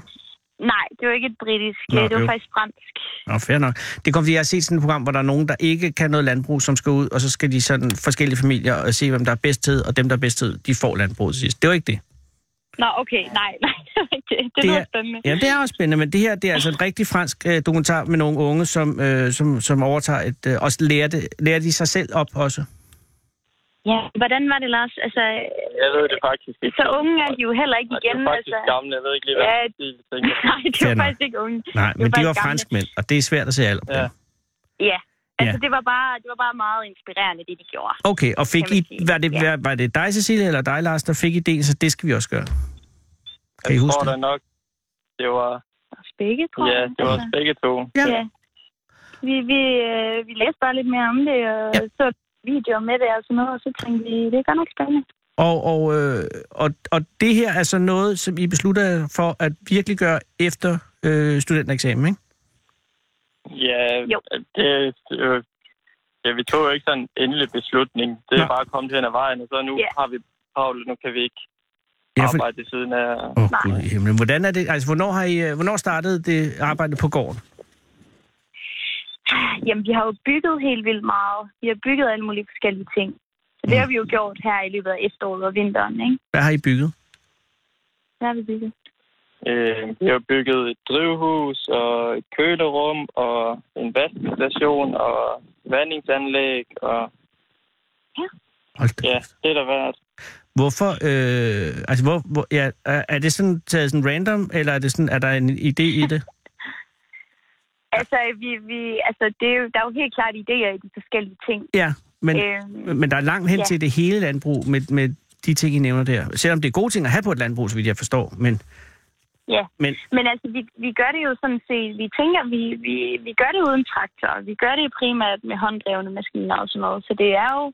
D: Nej, det var ikke et britisk,
E: Nå,
D: Nå, det var
E: jo.
D: jo. faktisk fransk.
E: Nå, fair nok. Det kom, fordi jeg har set sådan et program, hvor der er nogen, der ikke kan noget landbrug, som skal ud, og så skal de sådan forskellige familier og se, hvem der er bedst til, og dem, der er bedst til, de får landbruget til sidst. Det var ikke det.
D: Nå, okay, nej, nej, det var ikke det. Det,
E: Det
D: lyder
E: er-
D: spændende.
E: Ja, det er også spændende, men det her det er altså en rigtig fransk øh, dokumentar med nogle unge, som, øh, som, som overtager et... Øh, og lærer, det, lærer de sig selv op også.
D: Ja, hvordan var det, Lars? Altså,
G: Jeg ved det faktisk ikke.
D: så unge er de jo heller ikke
G: Nej, de
D: igen.
G: er jo faktisk
D: altså.
G: gamle, jeg ved ikke lige, hvad
D: Ja.
G: de tænker.
D: Nej, det
E: Ja,
D: var
E: nej.
D: faktisk ikke unge.
E: Nej,
D: Det
E: men de
D: faktisk
E: var
D: gamle.
E: franskmænd, og det er svært at se alder. på.
G: Ja.
D: Ja, altså
E: Ja.
D: det var bare det var bare meget inspirerende, det de gjorde.
E: Okay, og fik
D: Kan man
E: I,
D: sige.
E: var, det,
D: Ja.
E: var, var det dig, Cecilie, eller dig, Lars, der fik idéen, så det skal vi også gøre. Kan I
G: Jeg
E: huske
G: tror
E: det?
G: da nok, det var,
D: Og begge, tror
G: ja,
D: jeg.
G: det var
D: Altså,
G: os begge to.
E: Ja.
D: ja. Vi, vi, øh, vi læste bare lidt mere om det, og
E: Ja.
D: ja. så videoer med det og sådan noget, og så tænkte vi, det er godt nok spændende.
E: Og, og, øh, og, og det her er så noget, som I beslutter jer for at virkelig gøre efter øh, studentereksamen, ikke?
G: Ja,
D: Jo.
G: det, øh, ja, vi tog jo ikke sådan en endelig beslutning. Det er
E: Nej.
G: bare kommet hen ad vejen, og så nu
D: Ja.
G: har vi Paul, nu kan vi ikke
E: Ja, for-
G: arbejde ved siden af.
E: Åh, oh, gud i himlen. Hvordan er det, altså, hvornår, har I, øh, hvornår startede det arbejde på gården?
D: Jamen, vi har jo bygget helt vildt meget. Vi har bygget alle mulige
E: Mm.
D: forskellige ting. Så det har vi jo gjort her i løbet af efteråret og vinteren, ikke?
E: Hvad har I bygget?
D: Hvad har vi bygget?
G: Øh, vi har bygget et drivhus og et kølerum og en vaskestation og vandingsanlæg og
E: Hold da.
G: ja, det er der værd.
E: Hvorfor, øh, altså hvor, hvor ja, er, er det sådan taget sådan random, eller er, det sådan, er der en idé i det?
D: Altså, vi, vi, altså det er jo, der er jo helt klart idéer i de forskellige ting.
E: Ja, men,
D: Øhm,
E: øh, men der er langt hen ja.
D: ja.
E: til det hele landbrug med, med de ting, I nævner der. Selvom det er gode ting at have på et landbrug, så vidt jeg forstår, men...
D: Ja.
E: Men,
D: Men altså, vi, vi gør det jo sådan set, vi tænker, vi, vi, vi gør det uden traktor. Vi gør det primært med hånddrevne maskiner og sådan noget. Så det er jo,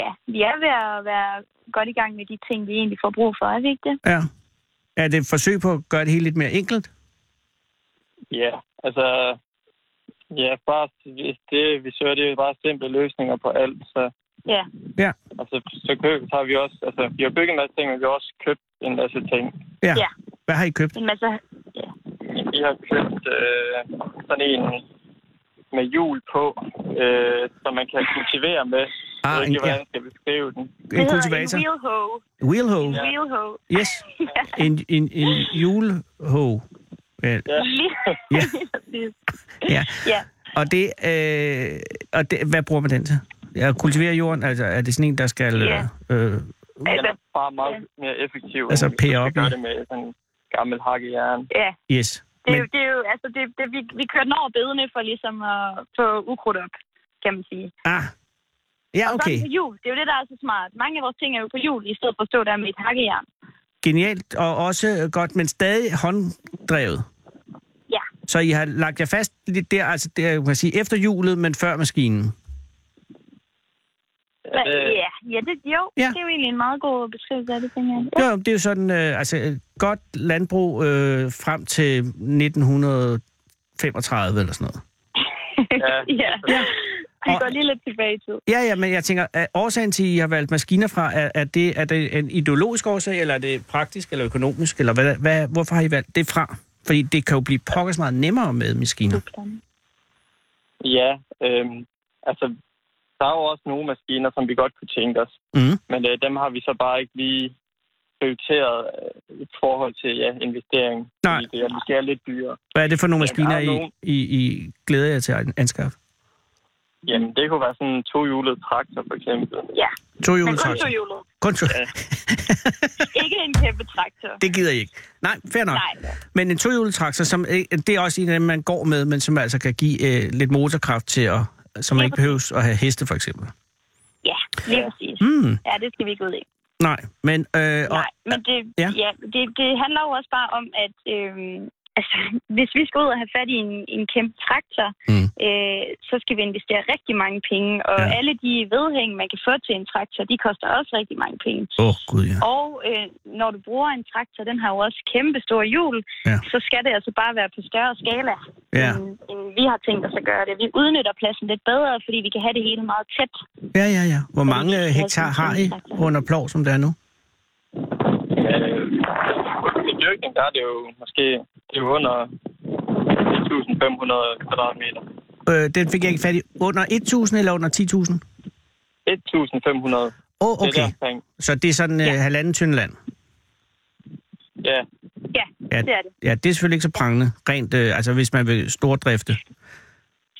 D: ja, vi er ved at være godt i gang med de ting, vi egentlig får brug for, er vi ikke det?
E: ja. Er det et forsøg på at gøre det hele lidt mere enkelt?
G: Ja, altså... Ja, bare, hvis det, vi søger det er jo bare simple løsninger på alt, så...
D: Ja.
E: Ja.
G: Altså, så, køb, så har vi også... Altså, vi har bygget en masse ting, men vi har også købt en masse ting.
E: Ja.
D: Ja.
E: Hvad har I købt?
D: En masse, ja.
G: Vi har købt øh, sådan en med hjul på, øh, som man kan kultivere med.
E: Ah,
G: jeg ved
E: en-
G: ikke, hvordan
E: ja.
G: jeg skal beskrive den.
E: En
D: hedder
E: kultivator?
D: en wheel hoe.
E: Wheel hoe.
D: Ja. Wheel hoe.
E: Yes. En, en, en julehove. Ja.
D: Lige
E: Ja.
D: præcis.
E: ja.
D: ja.
E: Og, det, øh, og det, hvad bruger man den til? At kultivere jorden? Altså, er det sådan en, der skal...
D: Ja.
E: Øh,
G: Den
D: Altså,
G: er bare meget mere effektiv.
E: Altså,
G: end hvis
E: pære
G: du skal
E: op i.
G: gøre det med sådan en gammel hakkejern.
D: ja.
E: yes.
D: Det er, jo, det er jo, altså, det, det, vi, vi kører den over bedene for ligesom at få ukrudt op, kan man sige.
E: ah. Ja,
D: Og
E: okay.
D: så på hjul. Det er jo det, der er så smart. Mange af vores ting er jo på hjul, i stedet for at stå der med et hakkejern.
E: Genialt og også godt, men stadig hånddrevet.
D: Ja.
E: Så I har lagt jer fast lidt der, altså det er, man kan sige, efter hjulet, men før maskinen.
D: Hva,
G: Øh.
D: ja, ja det, jo,
E: Ja.
D: ja. det er jo egentlig en meget god beskrivelse af det, tænker jeg. Ja.
E: Jo, det er jo sådan, øh, altså et godt landbrug øh, frem til 1935 eller sådan noget.
G: Ja.
D: ja. ja. Vi
E: Og-
D: går lige lidt tilbage i tid.
E: Ja, ja, men jeg tænker, at årsagen til, at I har valgt maskiner fra, er, er, det, er det en ideologisk årsag, eller er det praktisk, eller økonomisk, eller hvad, hvad, hvorfor har I valgt det fra? Fordi det kan jo blive pokkers meget nemmere med maskiner.
G: Ja, øhm, altså, der er jo også nogle maskiner, som vi godt kunne tænke os.
E: Mm.
G: Men øh, dem har vi så bare ikke lige prioriteret øh, i forhold til ja, investering.
E: Nej.
G: Fordi det er måske er lidt dyrere.
E: Hvad er det for nogle
G: Jamen, der
E: maskiner,
G: er
E: I,
G: nogle-
E: I, I glæder jer til at anskaffe?
G: Jamen, det kunne være sådan en tohjulet traktor, for eksempel.
D: Ja,
E: To
D: men kun
E: juletrækker.
D: to hjulet.
E: Kun to.
G: Ja.
D: Ikke en kæmpe traktor.
E: Det gider I ikke. Nej, fair nok.
D: Nej.
E: Men en tohjuletraktor, som, øh, det er også en af dem, man går med, men som altså kan give øh, lidt motorkraft til, at, som man ikke behøves at have heste, for eksempel.
D: Ja, lige præcis.
E: Mm,
D: Ja, det skal vi ikke ud i.
E: nej, men... Øh, og,
D: Nej, men det,
E: Ja.
D: ja. Ja, det, det handler jo også bare om, at øhm, altså, hvis vi skal ud og have fat i en, en kæmpe traktor,
E: Mm.
D: mm. øh, så skal vi investere rigtig mange penge. Og
E: Ja.
D: ja. alle de vedhæng, man kan få til en traktor, de koster også rigtig mange penge.
E: Åh, oh, gud ja.
D: Og øh, når du bruger en traktor, den har jo også kæmpe store hjul,
E: Ja.
D: ja. så skal det altså bare være på større skala,
E: Ja.
D: end, end vi har tænkt os at gøre det. Vi udnytter pladsen lidt bedre, fordi vi kan have det hele meget tæt.
E: Ja, ja, ja. Hvor mange
D: det
E: øh,
D: er
E: hektar
D: sådan
E: har
D: en
E: I
D: traktor.
E: under plov, som det er nu?
G: Øh, I dyrkning, der er det jo måske det er jo under 1.500 kvadratmeter.
E: Øh, den fik jeg ikke fat i. Under 1.000 eller under 10.000?
G: 1.500.
E: Åh, oh,
G: Det er
E: okay.
G: deromkring.
E: Så det er sådan øh, halvanden tynde land.
G: Ja,
D: Ja,
E: Ja,
D: det er det.
E: Ja, det er selvfølgelig ikke så prangende, rent, øh, altså hvis man vil stordrifte.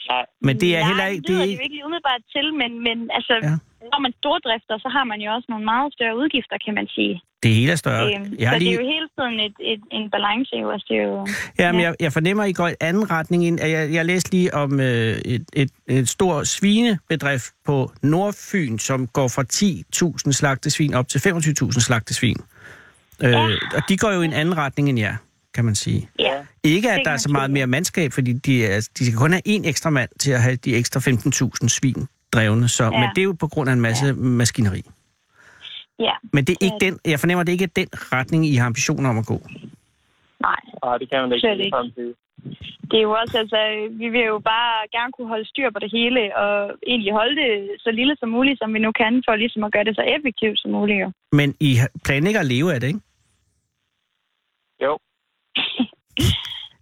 G: nej.
E: Men det er
D: Nej,
E: heller ikke...
D: det lyder
E: er
D: det jo ikke lige umiddelbart til, men, men altså,
E: Ja.
D: ja. når man stordrifter, så har man jo også nogle meget større udgifter, kan man sige.
E: Det hele er større.
D: øhm,
E: Jeg,
D: så
E: har
D: det er
E: lige,
D: jo hele tiden et, et, en balance, jo også. Det er jo,
E: jamen,
D: ja.
E: jeg, jeg fornemmer, at I går i anden retning. End, jeg, jeg læste lige om øh, et, et, et stort svinebedrift på Nordfyn, som går fra 10.000 slagtesvin op til 25.000 slagtesvin. Øh, og de går jo i en anden retning end jer, kan man sige.
D: ja.
E: Ikke, at
D: Det
E: der
D: kan
E: er
D: man
E: så meget
D: sige.
E: mere mandskab, fordi de, er, altså, de skal kun have én ekstra mand til at have de ekstra 15.000 svin drevne. Så, ja. Men det er jo på grund af en masse ja. maskineri.
D: ja.
E: Men det er ikke
D: Ja.
E: den, jeg fornemmer, det er ikke den retning, I har ambitioner om at gå.
D: Nej,
G: Nej, det kan man ikke.
D: Slet ikke.
G: Samtidig.
D: det er jo også, altså, vi vil jo bare gerne kunne holde styr på det hele, og egentlig holde det så lille som muligt, som vi nu kan, for ligesom at gøre det så effektivt som muligt. Jo.
E: Men I har- planlægger at leve af det, ikke?
G: Jo,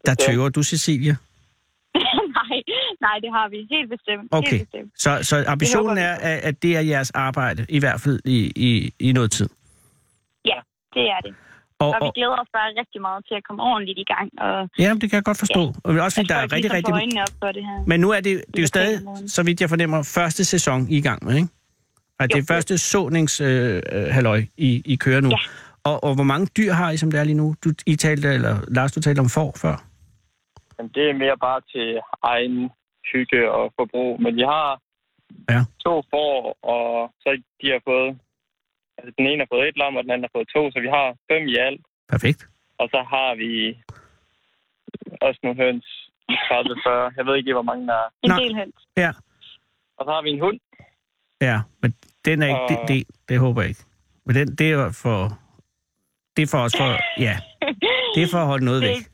E: Der tøver du, Cecilia.
D: nej, nej, det har vi helt bestemt.
E: Okay.
D: Helt bestemt.
E: Så, så ambitionen
D: vi
E: er, at at det er jeres arbejde, i hvert fald i, i, i noget tid.
D: Ja, det er det.
E: Og,
D: Og vi
E: og,
D: glæder os bare rigtig meget til at komme ordentligt i gang. Og
E: ja, det kan jeg godt forstå. Ja. Også fordi der er rigtig, rigtig...
D: rigtig... øjnene op for det her.
E: Men nu er det, det er jo
D: lokale
E: stadig,
D: morgen.
E: så vidt jeg fornemmer, første sæson I er i gang med, ikke? At det er
D: Jo.
E: første såningshalløj, øh, halløj, I, I kører nu.
D: Ja.
E: Og, og hvor mange dyr har I, som det er lige nu? Du, I talte, eller Lars, du talte om får før.
G: Men det er mere bare til egen hygge og forbrug. Men vi har
E: Ja.
G: to får, og så de har fået... Altså, den ene har fået et lam, og den anden har fået to, så vi har fem i alt.
E: Perfekt.
G: Og så har vi også nogle høns. 30, 40. Jeg ved ikke, hvor mange der er.
D: En
E: Nå.
D: del høns.
E: Ja,
G: Og så har vi en hund.
E: ja. Men den er ikke,
G: Og-
E: det, det, det håber jeg ikke. Men den, det er jo for, det er for os for, ja, det er for at holde noget
D: Det er
E: væk.
D: ikke,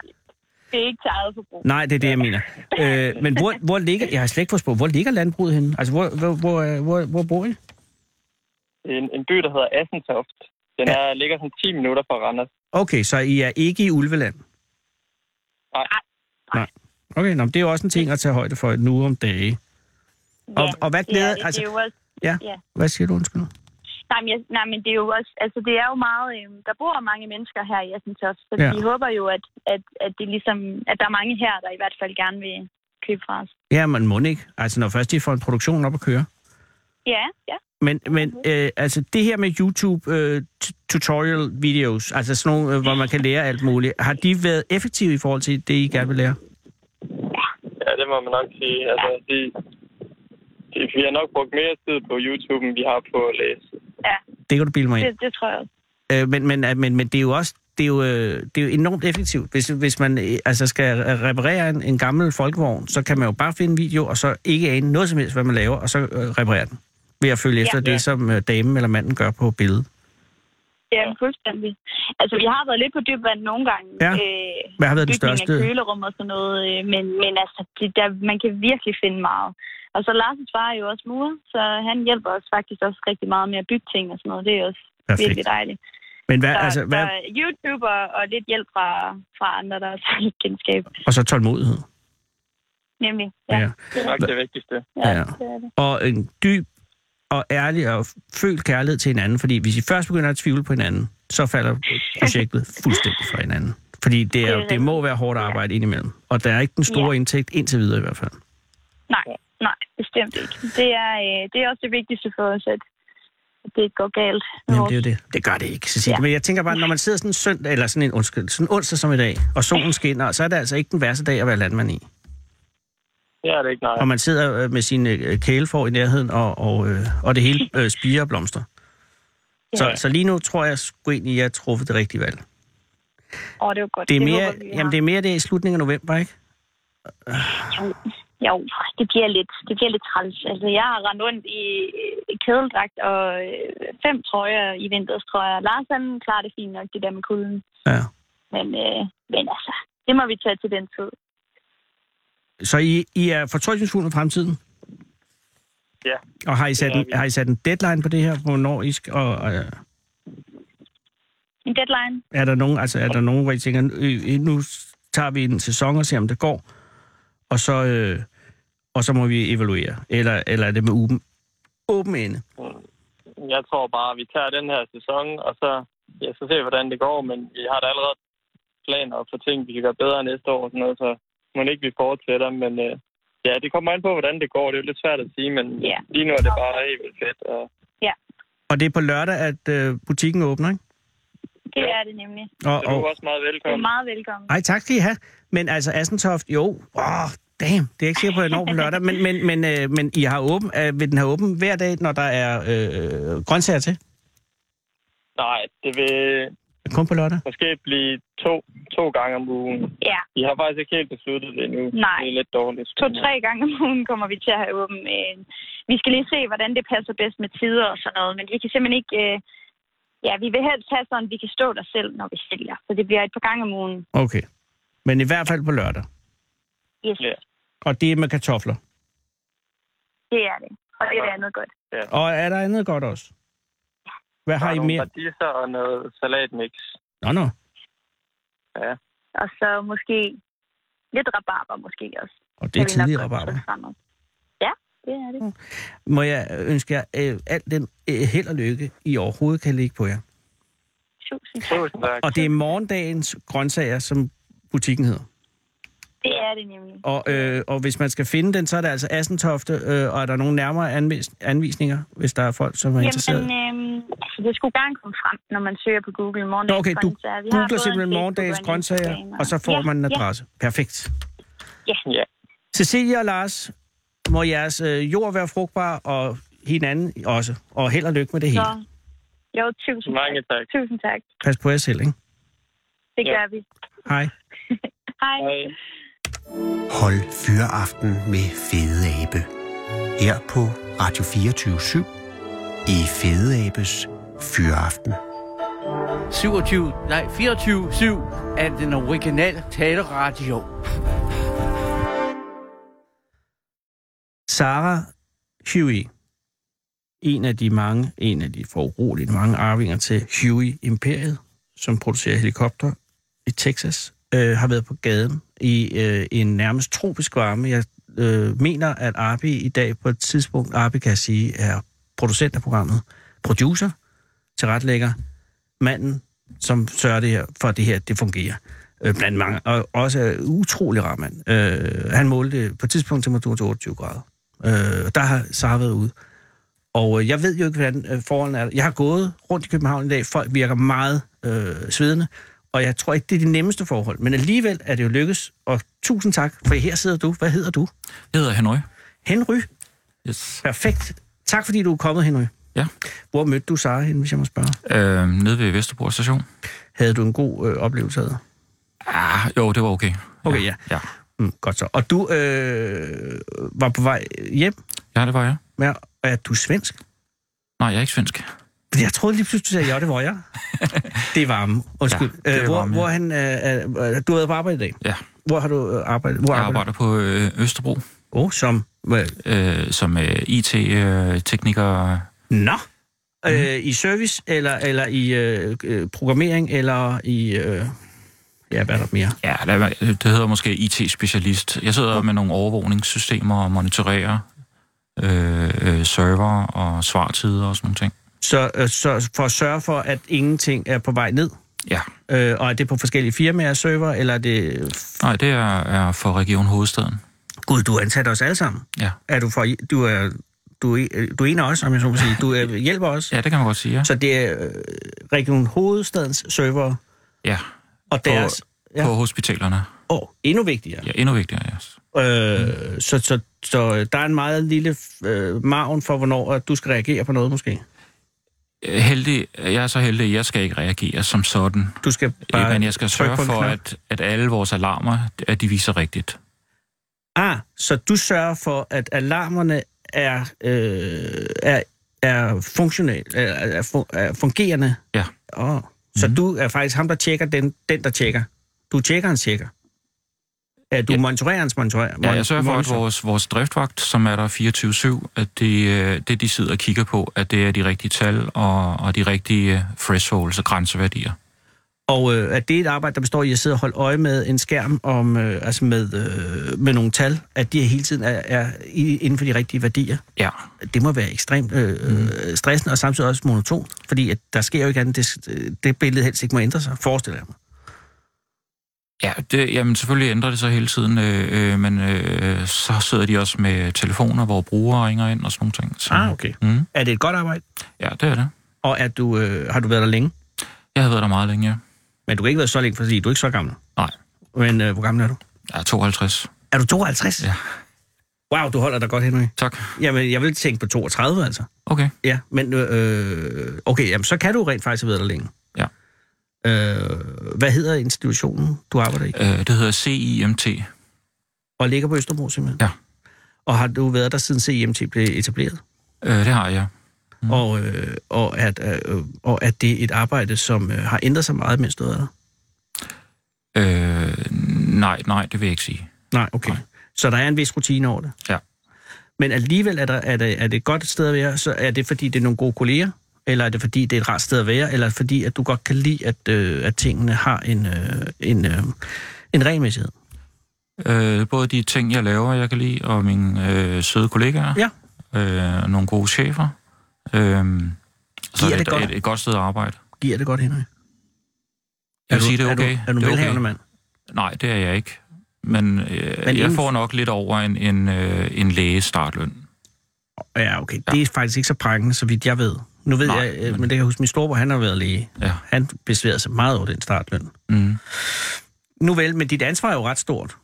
D: det er ikke til eget forbrug.
E: Nej, det er det, jeg mener. Øh, men hvor, hvor ligger, jeg har slet ikke forstået, hvor ligger landbruget henne? Altså, hvor, hvor, hvor, øh, hvor, hvor bor I?
G: En, en by, der hedder Assentoft. Den er, ligger sådan 10 minutter fra Randers.
E: Okay, så I er ikke i Ulveland?
G: Nej.
E: Nej. Okay, nå, men det er jo også en ting at tage højde for nu om dage. Og,
D: Ja,
E: og hvad
D: det er,
E: glæder...
D: det,
E: altså,
D: det er jo også
E: ja.
D: ja.
E: Hvad siger du, undskyld?
D: Nej, men, jeg, nej, men det er jo også, altså det er jo meget, øh, der bor mange mennesker her i Assentoft, så
E: Ja.
D: ja. vi håber jo, at, at, at, det er ligesom, at der er mange her, der i hvert fald gerne vil købe fra os.
E: Ja, man må ikke. Altså, når først de får en produktion op at køre.
D: Ja, ja.
E: Men, men øh, altså, det her med øh, YouTube-tutorial-videos, altså sådan nogle, øh, hvor man kan lære alt muligt, har de været effektive i forhold til det, I gerne vil lære?
G: Ja, det må man nok sige. Altså, de, de, vi har nok brugt mere tid på YouTube, end vi har på at læse.
E: Det kan du bilde mig ind.
D: Det, det tror jeg også.
E: Øh, men, men, men, men det er jo også det er jo, øh, det er jo enormt effektivt. Hvis, hvis man øh, altså skal reparere en, en gammel folkevogn, så kan man jo bare finde en video, og så ikke ane noget som helst, hvad man laver, og så øh, reparere den. Ved at følge efter det, som øh, damen eller manden gør på billedet.
D: Ja, fuldstændig. Altså, vi har været lidt på dyb vand nogle gange.
E: Ja.
D: Øh,
E: Hvad har været den
D: bygning
E: største?
D: af kølerum og sådan noget, øh, men, men altså, det, der, man kan virkelig finde meget. Og så Lars' far er jo også murer, så han hjælper os faktisk også rigtig meget med at bygge ting og sådan noget. Det er også
E: Perfekt.
D: Perfekt. virkelig dejligt.
E: Men hvad,
D: Så,
E: altså, hvad,
D: så YouTube og, og lidt hjælp fra, fra andre, der også har lidt kendskab.
E: og så tålmodighed.
D: Nemlig. Ja.
E: Ja.
D: ja.
E: Ja.
G: Det er nok det vigtigste.
E: ja.
D: det er det.
E: Og en dyb og ærlig og følt kærlighed til hinanden, fordi hvis I først begynder at tvivle på hinanden, så falder projektet fuldstændig fra hinanden. Fordi det, er, det må være hårdt arbejde indimellem, og der er ikke den store indtægt indtil videre i hvert fald.
D: Nej, nej, bestemt ikke. Det er, øh, det er også det vigtigste for os, at at det ikke går galt. med
E: Jamen,
D: vores
E: det er jo det. Det gør det ikke, Cecilie. Ja.
D: Ja.
E: Men jeg tænker bare, når man sidder sådan en søndag, eller sådan en, undskyld, sådan en onsdag som i dag, og solen skinner, så er det altså ikke den værste dag at være landmand i.
G: Det er det ikke, nej.
E: Og man sidder øh, med sine øh, kælefor i nærheden, og, og, øh, og det hele øh, spiger og blomster. Ja. Så, så lige nu tror jeg sgu egentlig, at jeg har truffet det rigtige valg.
D: Åh, det er jo godt.
E: Det er mere
D: håber vi,
E: det,
D: vi
E: jamen,
D: har.
E: det, er mere det i slutningen af november, ikke?
D: Jo, det bliver lidt, det bliver lidt træls. Altså, jeg har rendt rundt i øh, kædeldragt og øh, fem trøjer i vinterstrøjer. Lars, han klarer det fint nok, det der med kulden.
E: Ja.
D: Men, øh, men altså, det må vi tage til den tid.
E: Så I, I er fortrykningsfulde i fremtiden?
G: Ja.
E: Og har I sat,
G: Det er
E: en,
G: vi.
E: har I sat en deadline på det her, hvornår I skal, og, og
D: En deadline?
E: er der nogen, altså er der nogen, hvor I tænker, "Øh, øh, nu tager vi en sæson og ser, om det går, og så, øh, og så må vi evaluere, eller, eller er det med åben, åben ende?
G: Jeg tror bare, at vi tager den her sæson, og så, ja, så ser vi, hvordan det går. Men vi har da allerede planer for ting, vi kan gøre bedre næste år og sådan noget, så må det ikke vi fortsætter. Men øh, ja, det kommer an på, hvordan det går. Det er jo lidt svært at sige, men
D: Ja.
G: lige nu er det bare helt vildt fedt. Og
E: Og det er på lørdag, at øh, butikken åbner, ikke?
D: Det er det nemlig.
E: Og,
G: så du er
E: og,
G: også meget
D: Du er
G: velkommen.
D: meget velkommen.
E: ej, tak skal I have. Men altså, Assentoft, jo, åh, damn, det er ikke sikkert på, at jeg når på lørdag, men, men, men, øh, men I har åben, øh, vil den have åben hver dag, når der er øh, grøntsager til?
G: Nej, det vil
E: Kun på lørdag?
G: måske blive to, to gange om ugen.
D: Ja,
G: Vi har faktisk ikke helt besluttet det endnu.
D: Nej.
G: Det er lidt dårligt.
D: to-tre gange om ugen kommer vi til at have åben. Øh, Vi skal lige se, hvordan det passer bedst med tider og sådan noget, men vi kan simpelthen ikke... øh, Ja, vi vil helst have sådan, at vi kan stå der selv, når vi sælger. Så det bliver et par gange om ugen.
E: Okay. Men i hvert fald på lørdag.
D: Yes.
G: Ja.
E: Og det er med kartofler.
D: Det er det. Og det er det andet godt.
E: Og er der andet godt også? Hvad har I
G: nogle
E: mere?
G: Radiser og noget salatmix.
E: Nå, nå.
D: Og så måske lidt rabarber måske også.
E: Og det er
D: Kan vi nok
E: tidligere
D: godt
E: rabarber.
D: få fremad. Ja, det er det.
E: øh, Må jeg ønske jer øh, alt den øh, held og lykke, I overhovedet kan ligge på jer.
H: Tusind tak.
I: Tusind tak.
E: Og det er morgendagens grøntsager, som butikken hedder.
D: Det er det nemlig.
E: Og, øh, og hvis man skal finde den, så er det altså Assentofte, øh, og er der nogen nærmere anvis- anvisninger, hvis der er folk, som er interesseret?
D: Jamen, øhm, altså, det skulle gerne komme frem, når man søger på Google
E: Nå,
D: morgendagens
E: okay, du
D: grøntsager. Vi har
E: googler
D: både
E: simpelthen
D: en
E: morgendagens
D: Facebook og en Instagram,
E: grøntsager, og så får
D: ja,
E: man en
D: ja,
E: adresse. Perfekt.
D: Ja,
I: Ja.
E: Cecilia og Lars, må jeres øh, jord være frugtbar, og hinanden også. Og held og lykke med det hele.
D: så... Jo, tusind
I: Mange tak.
D: Tusind tak.
E: Pas på jer selv, ikke?
D: Det
I: Ja.
D: gør vi.
E: Hej.
D: Hej.
I: Hej.
C: Hold fyreaften med Fede Abe. Her på Radio 24 i Fede Abes Fyreaften.
J: 27, nej, 24-7 af den originale taleradio.
E: Sarah Huey, en af de mange, en af de foruroligende mange arvinger til Huey Imperiet, som producerer helikopter i Texas, øh, har været på gaden i øh, en nærmest tropisk varme. Jeg øh, mener, at Arbi i dag på et tidspunkt, Arbi kan jeg sige, er producent af programmet, producer, tilretlægger, manden, som sørger det her, for at det her det fungerer. Øh, blandt mange, og også er utrolig rar mand. Øh, han målte på et tidspunkt temperaturen til 28 grader. Øh, og der har Sara været ude. Og øh, jeg ved jo ikke, hvordan øh, forholdene er. Jeg har gået rundt i København i dag. Folk virker meget øh, svedende. Og jeg tror ikke, det er de nemmeste forhold. Men alligevel er det jo lykkes. Og tusind tak, for her sidder du. Hvad hedder du?
G: Jeg hedder Hanoi.
E: Henry.
G: Yes.
E: Perfekt. Tak, fordi du er kommet, Henry.
G: Ja.
E: Hvor mødte du Sara henne, hvis jeg må spørge?
G: Øh, nede ved Vesterbro station.
E: Havde du en god øh, oplevelse af det?
G: Ah, jo, det var okay.
E: Okay, ja.
G: Ja,
E: Mm, godt så. Og du øh, var på vej hjem,
G: ja det var jeg.
E: med, og er du svensk?
G: Nej, jeg er ikke svensk.
E: Fordi Jeg troede lige pludselig, du sagde, ja, det var jeg. det er varme. Undskyld.
G: Ja,
E: Ja,
G: det er
E: øh, hvor,
G: varme, ja.
E: hvor han, øh, øh, du har været på arbejde i dag.
G: Ja.
E: Hvor har du øh, arbejdet? Hvor
G: Jeg
E: arbejder
G: arbejder på øh, Østerbro
E: du? Oh, som... Øh,
G: øh, som øh, IT-tekniker.
E: nå!
G: Mhm.
E: Øh, I service, eller, eller i øh, øh, programmering, eller i... Øh, ja, hvad er der mere?
G: Ja, lad mig- øh, det hedder måske IT-specialist. Jeg sidder med nogle overvågningssystemer og monitorerer øh, øh, server og svartider og sådan nogle ting.
E: Så, øh, så for at sørge for, at ingenting er på vej ned,
G: Ja.
E: øh, og er det på forskellige firmaer og server, eller er det...
G: Nej, det er, er for Region Hovedstaden.
E: Gud, du ansætter os alle sammen.
G: Ja.
E: Er du, for, du, er, du, er, du er en af os, om jeg så må sige. Du er, hjælper os.
G: Ja, det kan man godt sige, ja.
E: Så det er øh, Region Hovedstadens server
G: ja.
E: og deres...
G: På, på hospitalerne.
E: Og endnu vigtigere.
G: Ja, endnu vigtigere, ja.
E: Øh, så, så, så der er en meget lille øh, maven for, hvornår at du skal reagere på noget måske.
G: Øh, Heldig, jeg er så heldig, at jeg skal ikke reagere som sådan.
E: Du skal bare
G: Bare men jeg skal
E: trykke
G: sørge
E: på en
G: for,
E: knap.
G: at, at alle vores alarmer, at de viser rigtigt.
E: Ah, så du sørger for, at alarmerne er, øh, er, er, funktionel, er, er, fu- er fungerende.
G: Ja. Mhm.
E: Oh. Så du er faktisk ham, der tjekker den, den der tjekker. Du tjekker hans tjekker. Ja, du ja.
G: Ja.
E: monitorerer hans monitorer.
G: Ja, jeg sørger for, at
E: monitor.
G: vores, vores driftvagt, som er der 24-7, at det, øh, det, de sidder og kigger på, at det er de rigtige tal og, og de rigtige øh, thresholds og grænseværdier.
E: Og øh, at det er et arbejde, der består i at sidde og holde øje med en skærm om, øh, altså med, øh, med nogle tal, at de hele tiden er, er i, inden for de rigtige værdier.
G: Ja,
E: Det må være ekstremt øh, øh, stressende og samtidig også monotont, fordi at der sker jo ikke andet, det, øh, det billede helst ikke må ændre sig, forestiller jeg mig.
G: ja det, jamen selvfølgelig ændrer det sig hele tiden, øh, øh, men øh, så sidder de også med telefoner, hvor brugere ringer ind og sådan nogle ting. Så,
E: okay.
G: mm,
E: Er det et godt arbejde?
G: ja, det er det.
E: Og er du, øh, har du været der længe?
G: Jeg har været der meget længe, ja.
E: Men du har ikke været så længe, fordi du er ikke så gammel.
G: Nej,
E: Men øh, hvor gammel er du?
G: jeg er 52.
E: Er du 52?
G: Ja.
E: Wow, du holder dig godt, Henrik.
G: Tak.
E: Jamen, jeg vil tænke på 32, altså.
G: Okay.
E: Ja, men øh, okay, jamen, så kan du rent faktisk have været der længe.
G: Ja.
E: Øh, hvad hedder institutionen, du arbejder i?
G: Øh, det hedder CIMT.
E: Og ligger på Østerbro simpelthen?
G: Ja.
E: Og har du været der siden CIMT blev etableret?
G: Øh, det har jeg.
E: Mm. Og, øh, og, at, øh, og at det er et arbejde, som øh, har ændret sig meget, mens du er der?
G: Øh, nej, nej, det vil jeg ikke sige.
E: Nej, okay. Nej. Så der er en vis rutine over det?
G: Ja.
E: Men alligevel er, der, er, det, er det et godt sted at være, så er det fordi, det er nogle gode kolleger? Eller er det fordi, det er et rart sted at være? Eller er det fordi, at du godt kan lide, at, øh, at tingene har en, øh, en, øh, en regelmæssighed?
G: Øh, både de ting, jeg laver, jeg kan lide, og mine øh, søde kollegaer.
E: Ja.
G: Øh, og nogle gode chefer. Øh, så
E: Giver
G: er
E: det
G: det,
E: godt?
G: et, et, et godt sted at arbejde.
E: Giver det godt, Henrik?
G: Jeg vil sige, det er
E: Er du-
G: okay.
E: er du
G: det
E: velhavende mand?
G: Nej, det er jeg ikke. Men, øh,
E: Men
G: Men jeg
E: inden-
G: får nok lidt over en, en, øh, en læges startløn.
E: Ja, okay. Det er faktisk ikke så prangende, så vidt jeg ved. Nu ved Nej,
G: Nej,
E: jeg, øh, men
G: men-
E: det kan jeg huske, min storebror, han har været læge.
G: Ja.
E: Han besværede sig meget over den startløn.
G: Mm.
E: Nu vel, men dit ansvar er jo ret stort.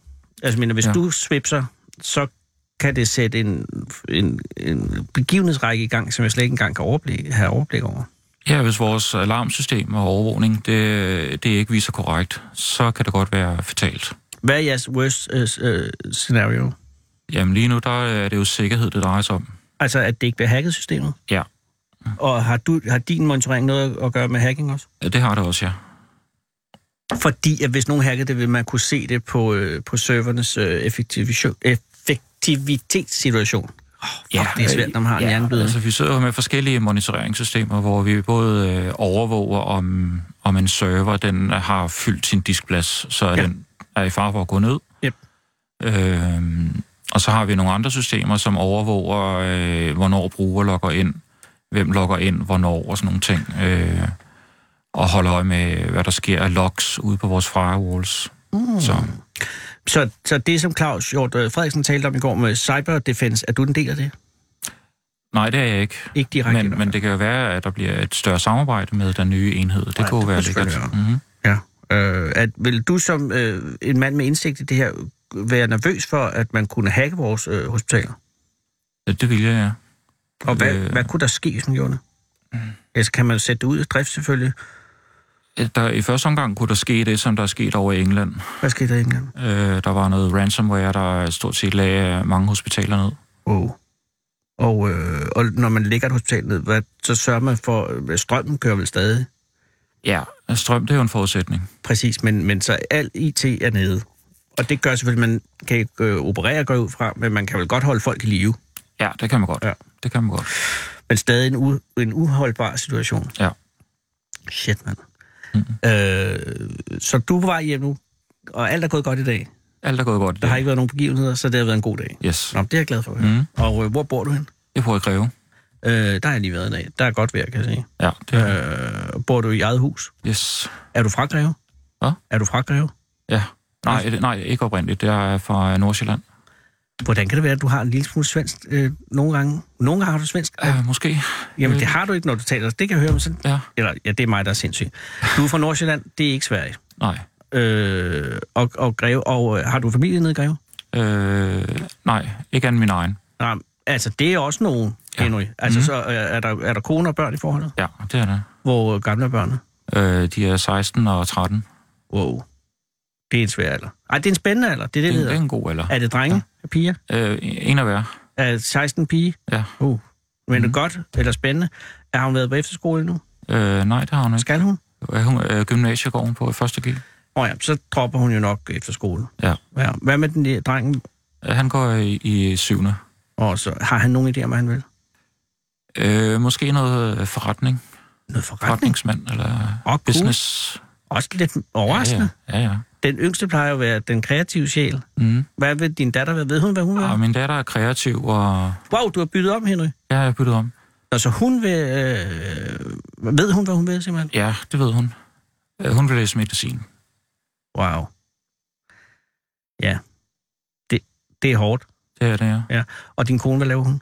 E: Altså, men hvis ja.
G: Ja.
E: du svipser, så kan det sætte en, en, en begivenhedsrække i gang, som jeg slet ikke engang kan overblik, have overblik over.
G: Ja, hvis vores alarmsystem og overvågning, det, det ikke viser korrekt, så kan det godt være fatalt.
E: Hvad er jeres worst uh, scenario?
G: Jamen lige nu, der er det jo sikkerhed, det drejer sig om.
E: Altså, at det ikke bliver hacket systemet?
G: Ja.
E: Og har, du, har din monitorering noget at gøre med hacking også?
G: Ja, Det har det også, ja.
E: Fordi at hvis nogen hackede det, vil man kunne se det på, øh, på servernes øh, effektivisio- effektivitetssituation. Oh, fuck, ja, det er svært, når man har ja, en hjerneblødning.
G: Altså, vi sidder jo med forskellige monitoreringssystemer, hvor vi både øh, overvåger, om, om en server den har fyldt sin diskplads, så ja. den er i fare for at gå ned.
E: Yep.
G: Øhm, og så har vi nogle andre systemer, som overvåger, øh, hvornår bruger logger ind, hvem logger ind, hvornår og sådan nogle ting. Øh, og holder øje med, hvad der sker af logs ude på vores firewalls. Mm. Så
E: Så, så det, som Claus Hjort øh, Frederiksen talte om i går med cyber defense, er du en del af det?
G: nej, det er jeg ikke.
E: Ikke direkte?
G: Men, men det kan jo være, at der bliver et større samarbejde med den nye enhed. Det
E: Ja,
G: ja, kunne
E: det
G: jo være
E: kunne selvfølgelig
G: lækkert. Mm-hmm.
E: Ja. Øh, at, vil du som øh, en mand med indsigt i det her være nervøs for, at man kunne hacke vores øh, hospitaler?
G: Ja, det ville jeg, ja.
E: Og hvad,
G: Øh.
E: hvad kunne der ske, hvis man gjorde det? Altså, kan man sætte det ud af drift selvfølgelig?
G: At Der, I første omgang kunne der ske det, som der er sket over i England.
E: Hvad skete der i England?
G: Øh, der var noget ransomware, der stort set lagde mange hospitaler ned.
E: Wow. Og, øh, og når man ligger et hospital ned, hvad, så sørger man for, øh, strømmen kører vel stadig?
G: Ja, strøm, det er jo en forudsætning.
E: Præcis, men, men så al IT er nede. Og det gør selvfølgelig, at man kan ikke øh, operere går jeg ud fra, men man kan vel godt holde folk i live.
G: Ja, det kan man godt.
E: Ja.
G: Det kan man godt.
E: Men stadig en, u- en uholdbar situation.
G: Ja.
E: Shit, mand. Mm-hmm. Øh, så du er på vej hjem nu, og alt er gået godt i dag.
G: Alt er gået godt. i
E: Der har
G: dag.
E: ikke været nogen begivenheder, så det har været en god dag.
G: Yes.
E: Nå, det er jeg glad for. Mm. Og øh, hvor bor du hen?
G: Jeg prøver at kræve.
E: Øh, der har jeg lige været i dag. Der er godt vejr, kan jeg sige.
G: Ja, det er
E: Øh, bor du i eget hus?
G: Yes.
E: Er du fra Greve?
G: Hvad?
E: Er du fra Greve?
G: Ja. Nej, det- nej, ikke oprindeligt. Det er fra Nordsjælland.
E: Hvordan kan det være, at du har en lille smule svensk øh, nogle gange? Nogle gange har du svensk. Ja.
G: Øh, måske.
E: Jamen, det har du ikke, når du taler. Det kan jeg høre, men sådan...
G: Ja.
E: Eller, ja, det er mig, der er sindssyg. Du er fra Nordsjælland, det er ikke Sverige.
G: Nej.
E: Øh, og, og, Greve, og øh, har du familie nede i Greve?
G: Øh, nej, ikke andet end min egen.
E: Nej, altså, det er også nogen, ja.
G: Ja. Mhm.
E: Henry. Altså, mm. så øh, er der, er der kone og børn i forholdet?
G: Ja, det er det.
E: Hvor gamle er børnene?
G: Øh, de er 16 og 13.
E: Wow. Det er en svær alder. Ej, det er en spændende alder. Det er det,
G: Det,
E: det,
G: det er
E: hedder.
G: en god alder.
E: Er det drenge? Ja. Piger?
G: Øh, en af hver.
E: Er 16 pige?
G: Ja. Mhm.
E: Uh. Men mm. det er godt, eller spændende. Har hun været på efterskole nu?
G: Øh, nej, det har hun ikke.
E: Skal hun?
G: Er hun øh, gymnasiet går hun på i første G.
E: Åh oh ja, så dropper hun jo nok efter skole.
G: Ja.
E: ja. Hvad med den der dreng?
G: Øh, Han går i, i syvende.
E: Og så har han nogen idé om, hvad han vil?
G: Øh, måske noget øh, forretning.
E: Noget forretning.
G: Forretningsmand eller
E: Åh, uh, cool.
G: business.
E: Også lidt overraskende. Ja,
G: Ja, ja. ja, ja.
E: ja. Den yngste plejer jo at være den kreative sjæl.
G: Mm.
E: Hvad vil din datter være? Ved hun, hvad hun vil?
G: Og min datter er kreativ, og
E: Wow, du har byttet om, Henry.
G: ja, jeg har byttet om.
E: Nå, så hun vil... Øh, ved hun, hvad hun vil, simpelthen?
G: Ja, det ved hun. Øh, Hun vil læse medicin.
E: Wow. Ja. Det, det er hårdt.
G: Det er det, ja.
E: Ja. Og din kone, hvad laver hun?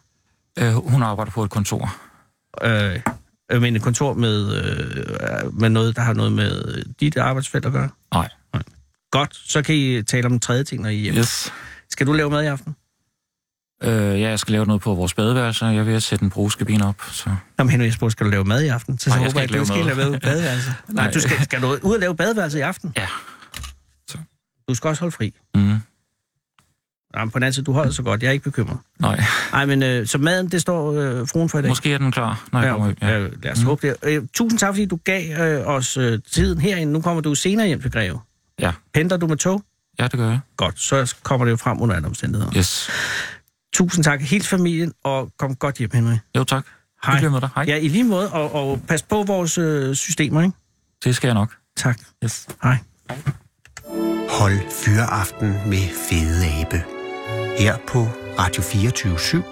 G: Øh, hun arbejder på et kontor.
E: Øh, øh, men et kontor med, øh, med noget, der har noget med dit arbejdsfelt at gøre?
G: Nej.
E: Godt, så kan I tale om en tredje ting, når I er hjemme.
G: Yes.
E: Skal du lave mad i aften?
G: Øh, ja, jeg skal lave noget på vores badeværelse, og jeg er ved at sætte en brugeskabine op. Så.
E: Nå, men Henrik, jeg spurgte, skal du lave mad i aften? Så,
G: Nej,
E: så
G: jeg
E: håber
G: skal
E: jeg,
G: ikke
E: at du
G: lave
E: skal
G: mad.
E: lave mad i badeværelse. Nej,
G: Nej.
E: du skal, skal du ud og lave badeværelse i aften?
G: Ja.
E: Så.
G: Så.
E: Du skal også holde fri.
G: Mm.
E: Nej, men på den anden side, du holder så godt. Jeg er ikke bekymret.
G: Nej,
E: Nej, men øh, så maden, det står øh, fruen for i dag.
G: måske er den klar, når jeg kommer hjem.
E: ja.
G: Ja. Mm.
E: Øh, lad os håbe det. Øh, tusind tak, fordi du gav øh, os øh, tiden herinde. Nu kommer du senere hjem til Greve.
G: Ja.
E: Pendler du med tog?
G: ja, det gør jeg.
E: Godt, så kommer det jo frem under alle omstændigheder.
G: Yes.
E: Tusind tak. Hils familien, og kom godt hjem, Henrik.
G: Jo, tak.
E: Hej.
G: Hyggeligt med dig. Hej.
E: Ja, i lige måde, og, og pas på vores øh, systemer, ikke?
G: Det skal jeg nok.
E: Tak.
G: Yes.
E: Hej.
C: Hold Fyraften med Fede Abe. Her på Radio 24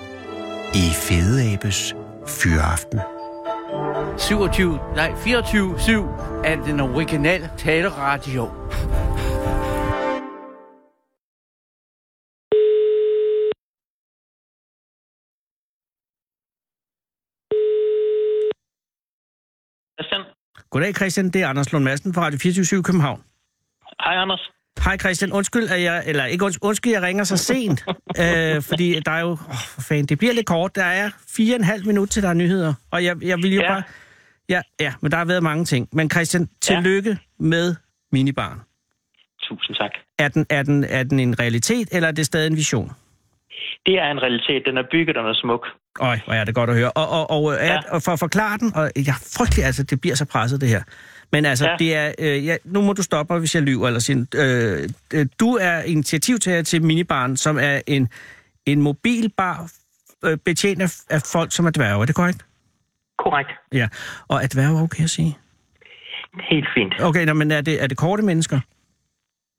C: i Fede Abes Fyraften.
J: 27, nej, 24-7 af den originale taleradio.
G: Christian.
E: Goddag Christian, det er Anders Lund Madsen fra Radio 24 København.
G: Hej Anders.
E: Hej Christian, undskyld, at jeg, eller ikke undskyld, undskyld, jeg ringer så sent, øh, fordi der er jo, åh, for fanden, det bliver lidt kort, der er fire og en halv minut til der er nyheder, og jeg, jeg vil jo ja. bare, ja, ja, men der har været mange ting, men Christian, tillykke ja. med minibaren.
G: Tusind tak.
E: Er den, er, den, er den en realitet, eller er det stadig en vision?
G: Det er en realitet. Den er bygget, og den er smuk.
E: Øj, hvor er det godt at høre. Og, og, og, ja. at, og for at forklare den, og jeg er frygtelig, altså, det bliver så presset det her. Men altså, ja. det er, øh, ja, nu må du stoppe mig, hvis jeg lyver, eller siger, øh, øh, du er initiativtager til Minibaren, som er en, en mobilbar øh, betjent af, af folk, som er dværge. Er det korrekt?
G: Korrekt.
E: Ja, og er dværge okay at sige?
G: Helt fint.
E: Okay, nå, men er det, er det korte mennesker?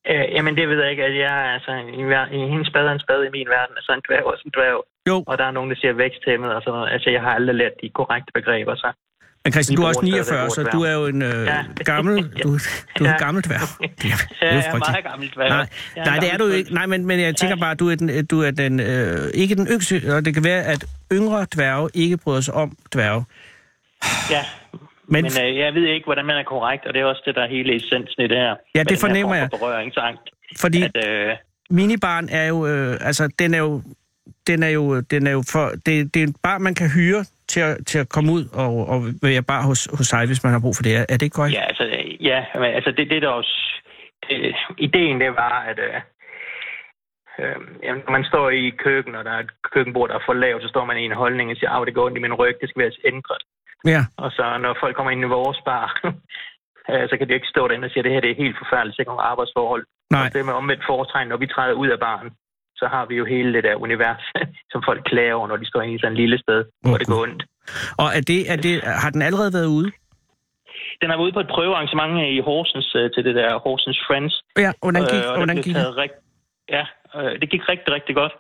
G: Øh, jamen, det ved jeg ikke. at Jeg er altså i, ver- i hendes spade er en spade i min verden. Altså en dværg også en dværg.
E: Jo.
G: Og der er nogen, der siger væksthæmmet og sådan noget. Altså, jeg har aldrig lært de korrekte begreber, så...
E: Men Christian,
G: Vi
E: du er også
G: bruger stadig
E: 49,
G: ordet
E: så
G: dværg.
E: du er jo en øh, ja. gammel, du, du er en gammel dværg. Det er, det
G: Ja,
E: jo
G: jeg er
E: frygteligt.
G: meget gammel dværg.
E: Nej,
G: Jeg
E: nej
G: en
E: det er du
G: gammel
E: jo ikke. Nej, men, men jeg tænker bare, at du er, den, du er den, øh, ikke den yngste, og det kan være, at yngre dværge ikke bryder sig om dværge.
G: Ja, men, men øh, jeg ved ikke, hvordan man er korrekt, og det er også det, der er hele essensen i det her.
E: det
G: Med den her
E: fornemmer
G: form
E: jeg.
G: for Berøringsangst.
E: Fordi
G: At, øh,
E: minibaren er jo, øh, altså den er jo, den er jo, den er jo for, det, det er en bar, man kan hyre til at, til at komme ud og, og være bar hos, hos sig, hvis man har brug for det. Er er det ikke korrekt?
G: ja, altså, øh, ja, men, altså det, det er der også... Det, ideen, det var, at... Øh, øh, jamen, når man står i køkken, og der er et køkkenbord, der er for lavt, så står man i en holdning og siger, at det går ondt i min ryg, det skal være ændret.
E: Ja.
G: Og så når folk kommer ind i vores bar, øh, så kan de jo ikke stå derinde og sige, at det her det er helt forfærdeligt, sikkert nogle arbejdsforhold.
E: Nej.
G: Og det med omvendt foretegn, når vi træder ud af baren, så har vi jo hele det der univers, som folk klager over, når de står inde i sådan et lille sted, hvor det går ondt.
E: Og er det, er det, har den allerede været ude?
G: Den har været ude på et prøvearrangement her i Horsens øh, til det der Horsens Friends.
E: Ja, hvordan gik,
G: Øh, og der
E: hvordan
G: blev
E: gik
G: taget rigt- Ja, øh, det gik rigtig, rigtig godt.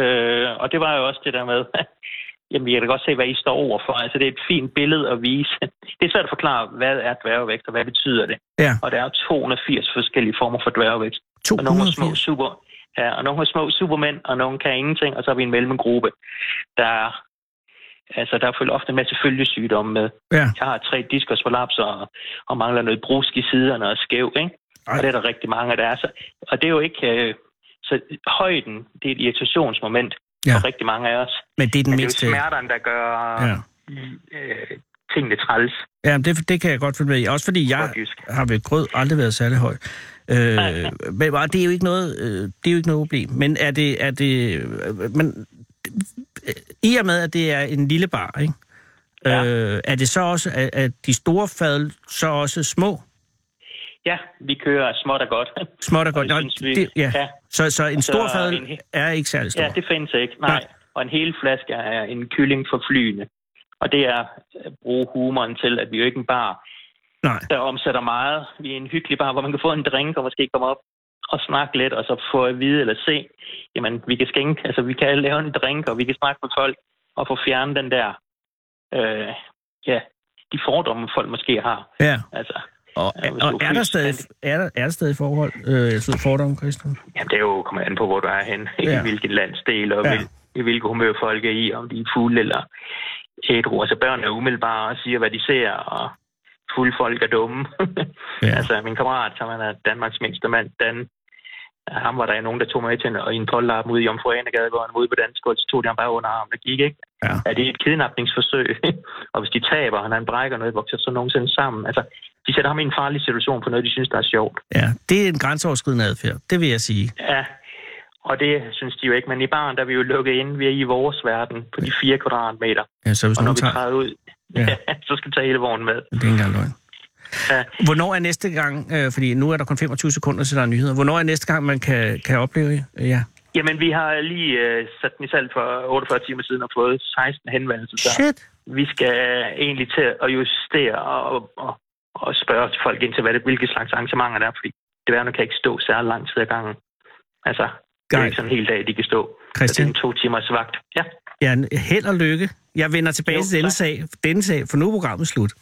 G: Øh, og det var jo også det der med, jamen jeg kan da godt se, hvad I står overfor. Altså det er et fint billede at vise. Det er svært at forklare, hvad er dværgevækst, og hvad betyder det?
E: Ja.
G: Og der er jo 280 forskellige former for dværgevækst. Og nogle er små super, ja, og nogle er små supermænd, og nogle kan ingenting, og så er vi en mellemgruppe, der er- Altså, der følger ofte en masse følgesygdomme med.
E: Ja.
G: Jeg har tre diskusprolaps og, og mangler noget brusk i siderne og skæv, ikke? Ej. Og det er der rigtig mange, der er. Så, og det er jo ikke... Øh, så højden, det er et irritationsmoment
E: Ja.
G: ja. for rigtig mange af os.
E: Men det er den
G: Men
E: mindste-
G: det er jo smerterne, der gør
E: Ja.
G: ja. øh, tingene træls.
E: Ja, det, det kan jeg godt følge med i. Også fordi jeg har ved grød aldrig været særlig høj. Øh, men og det er jo ikke noget, øh, det er jo ikke noget problem. Men er det, er det, øh, men øh, i og med, at det er en lille bar, ikke? Ja. Øh, er det så også, at, at de store fad så også små?
G: Ja, vi kører småt og godt.
E: Småt og godt.
G: det
E: Nå,
G: synes vi.
E: det, ja.
G: Ja.
E: Så, så en
G: Så
E: stor fad
G: en he-
E: er ikke særlig stor?
G: Ja, det findes ikke. Nej. Nej. Og en hel flaske er en kylling for flyene. Og det er at bruge humoren til, at vi jo ikke er en bar,
E: Nej.
G: der omsætter meget. Vi er en hyggelig bar, hvor man kan få en drink og måske komme op og snakke lidt, og så få at vide eller se, jamen, vi kan skænke, altså vi kan lave en drink, og vi kan snakke med folk, og få fjernet den der, øh, ja, de fordomme, folk måske har.
E: Ja.
G: Altså,
E: Og,
G: Ja, hvis
E: og
G: du er
E: er, der
G: fysisk
E: stadig, er, der, er der stadig forhold? Øh, jeg sidder fordomme, Christian.
G: Jamen, det er jo kommer an på, hvor du er henne, ja.
E: Ja.
G: i hvilken landsdel, og
E: Ja.
G: ja. hvil, i hvilket humør folk er i, om de er fulde eller ædru. Altså, børn er umiddelbare og siger, hvad de ser, og fulde folk er dumme. ja. Altså, min kammerat, som han er Danmarks mindste mand, Dan, ham var der nogen, der tog med til en, og i en pollarm ude i Jomfru Anegade, hvor han var ude på dansk, og så tog de ham bare under armen og gik, ikke?
E: Ja.
G: Er det et kidnapningsforsøg? og hvis de taber, og han brækker noget, vokser så nogensinde sammen. Altså, de sætter ham i en farlig situation for noget, de synes, der er sjovt.
E: Ja, det er en grænseoverskridende adfærd, det vil jeg sige.
G: Ja, og det synes de jo ikke. Men i barn, der er vi jo lukket ind. Vi er i vores verden på de fire kvadratmeter.
E: Ja, så hvis
G: og når
E: nogen
G: vi
E: tager-
G: træder ud, ja. så skal vi tage hele vognen med.
E: Det er ikke engang løgn. Hvornår er næste gang, øh, fordi nu er der kun 25 sekunder til der er nyheder, hvornår er næste gang, man kan, kan opleve øh, ja.
G: Jamen, vi har lige øh, sat den i salg for 48 timer siden og fået 16 henvendelser. Så
E: Shit.
G: Vi skal øh, egentlig til at justere og, og, og spørge folk ind til, hvad det, hvilke slags arrangementer der er, fordi det værende kan ikke stå særlig lang tid ad gangen. Altså, det er
E: Nej.
G: ikke sådan en hel dag, de kan stå. Så
E: Christian?
G: Det er en to timers vagt. Ja.
E: Ja, held og lykke. Jeg vender tilbage jo, til denne sag, denne sag, for nu er programmet slut.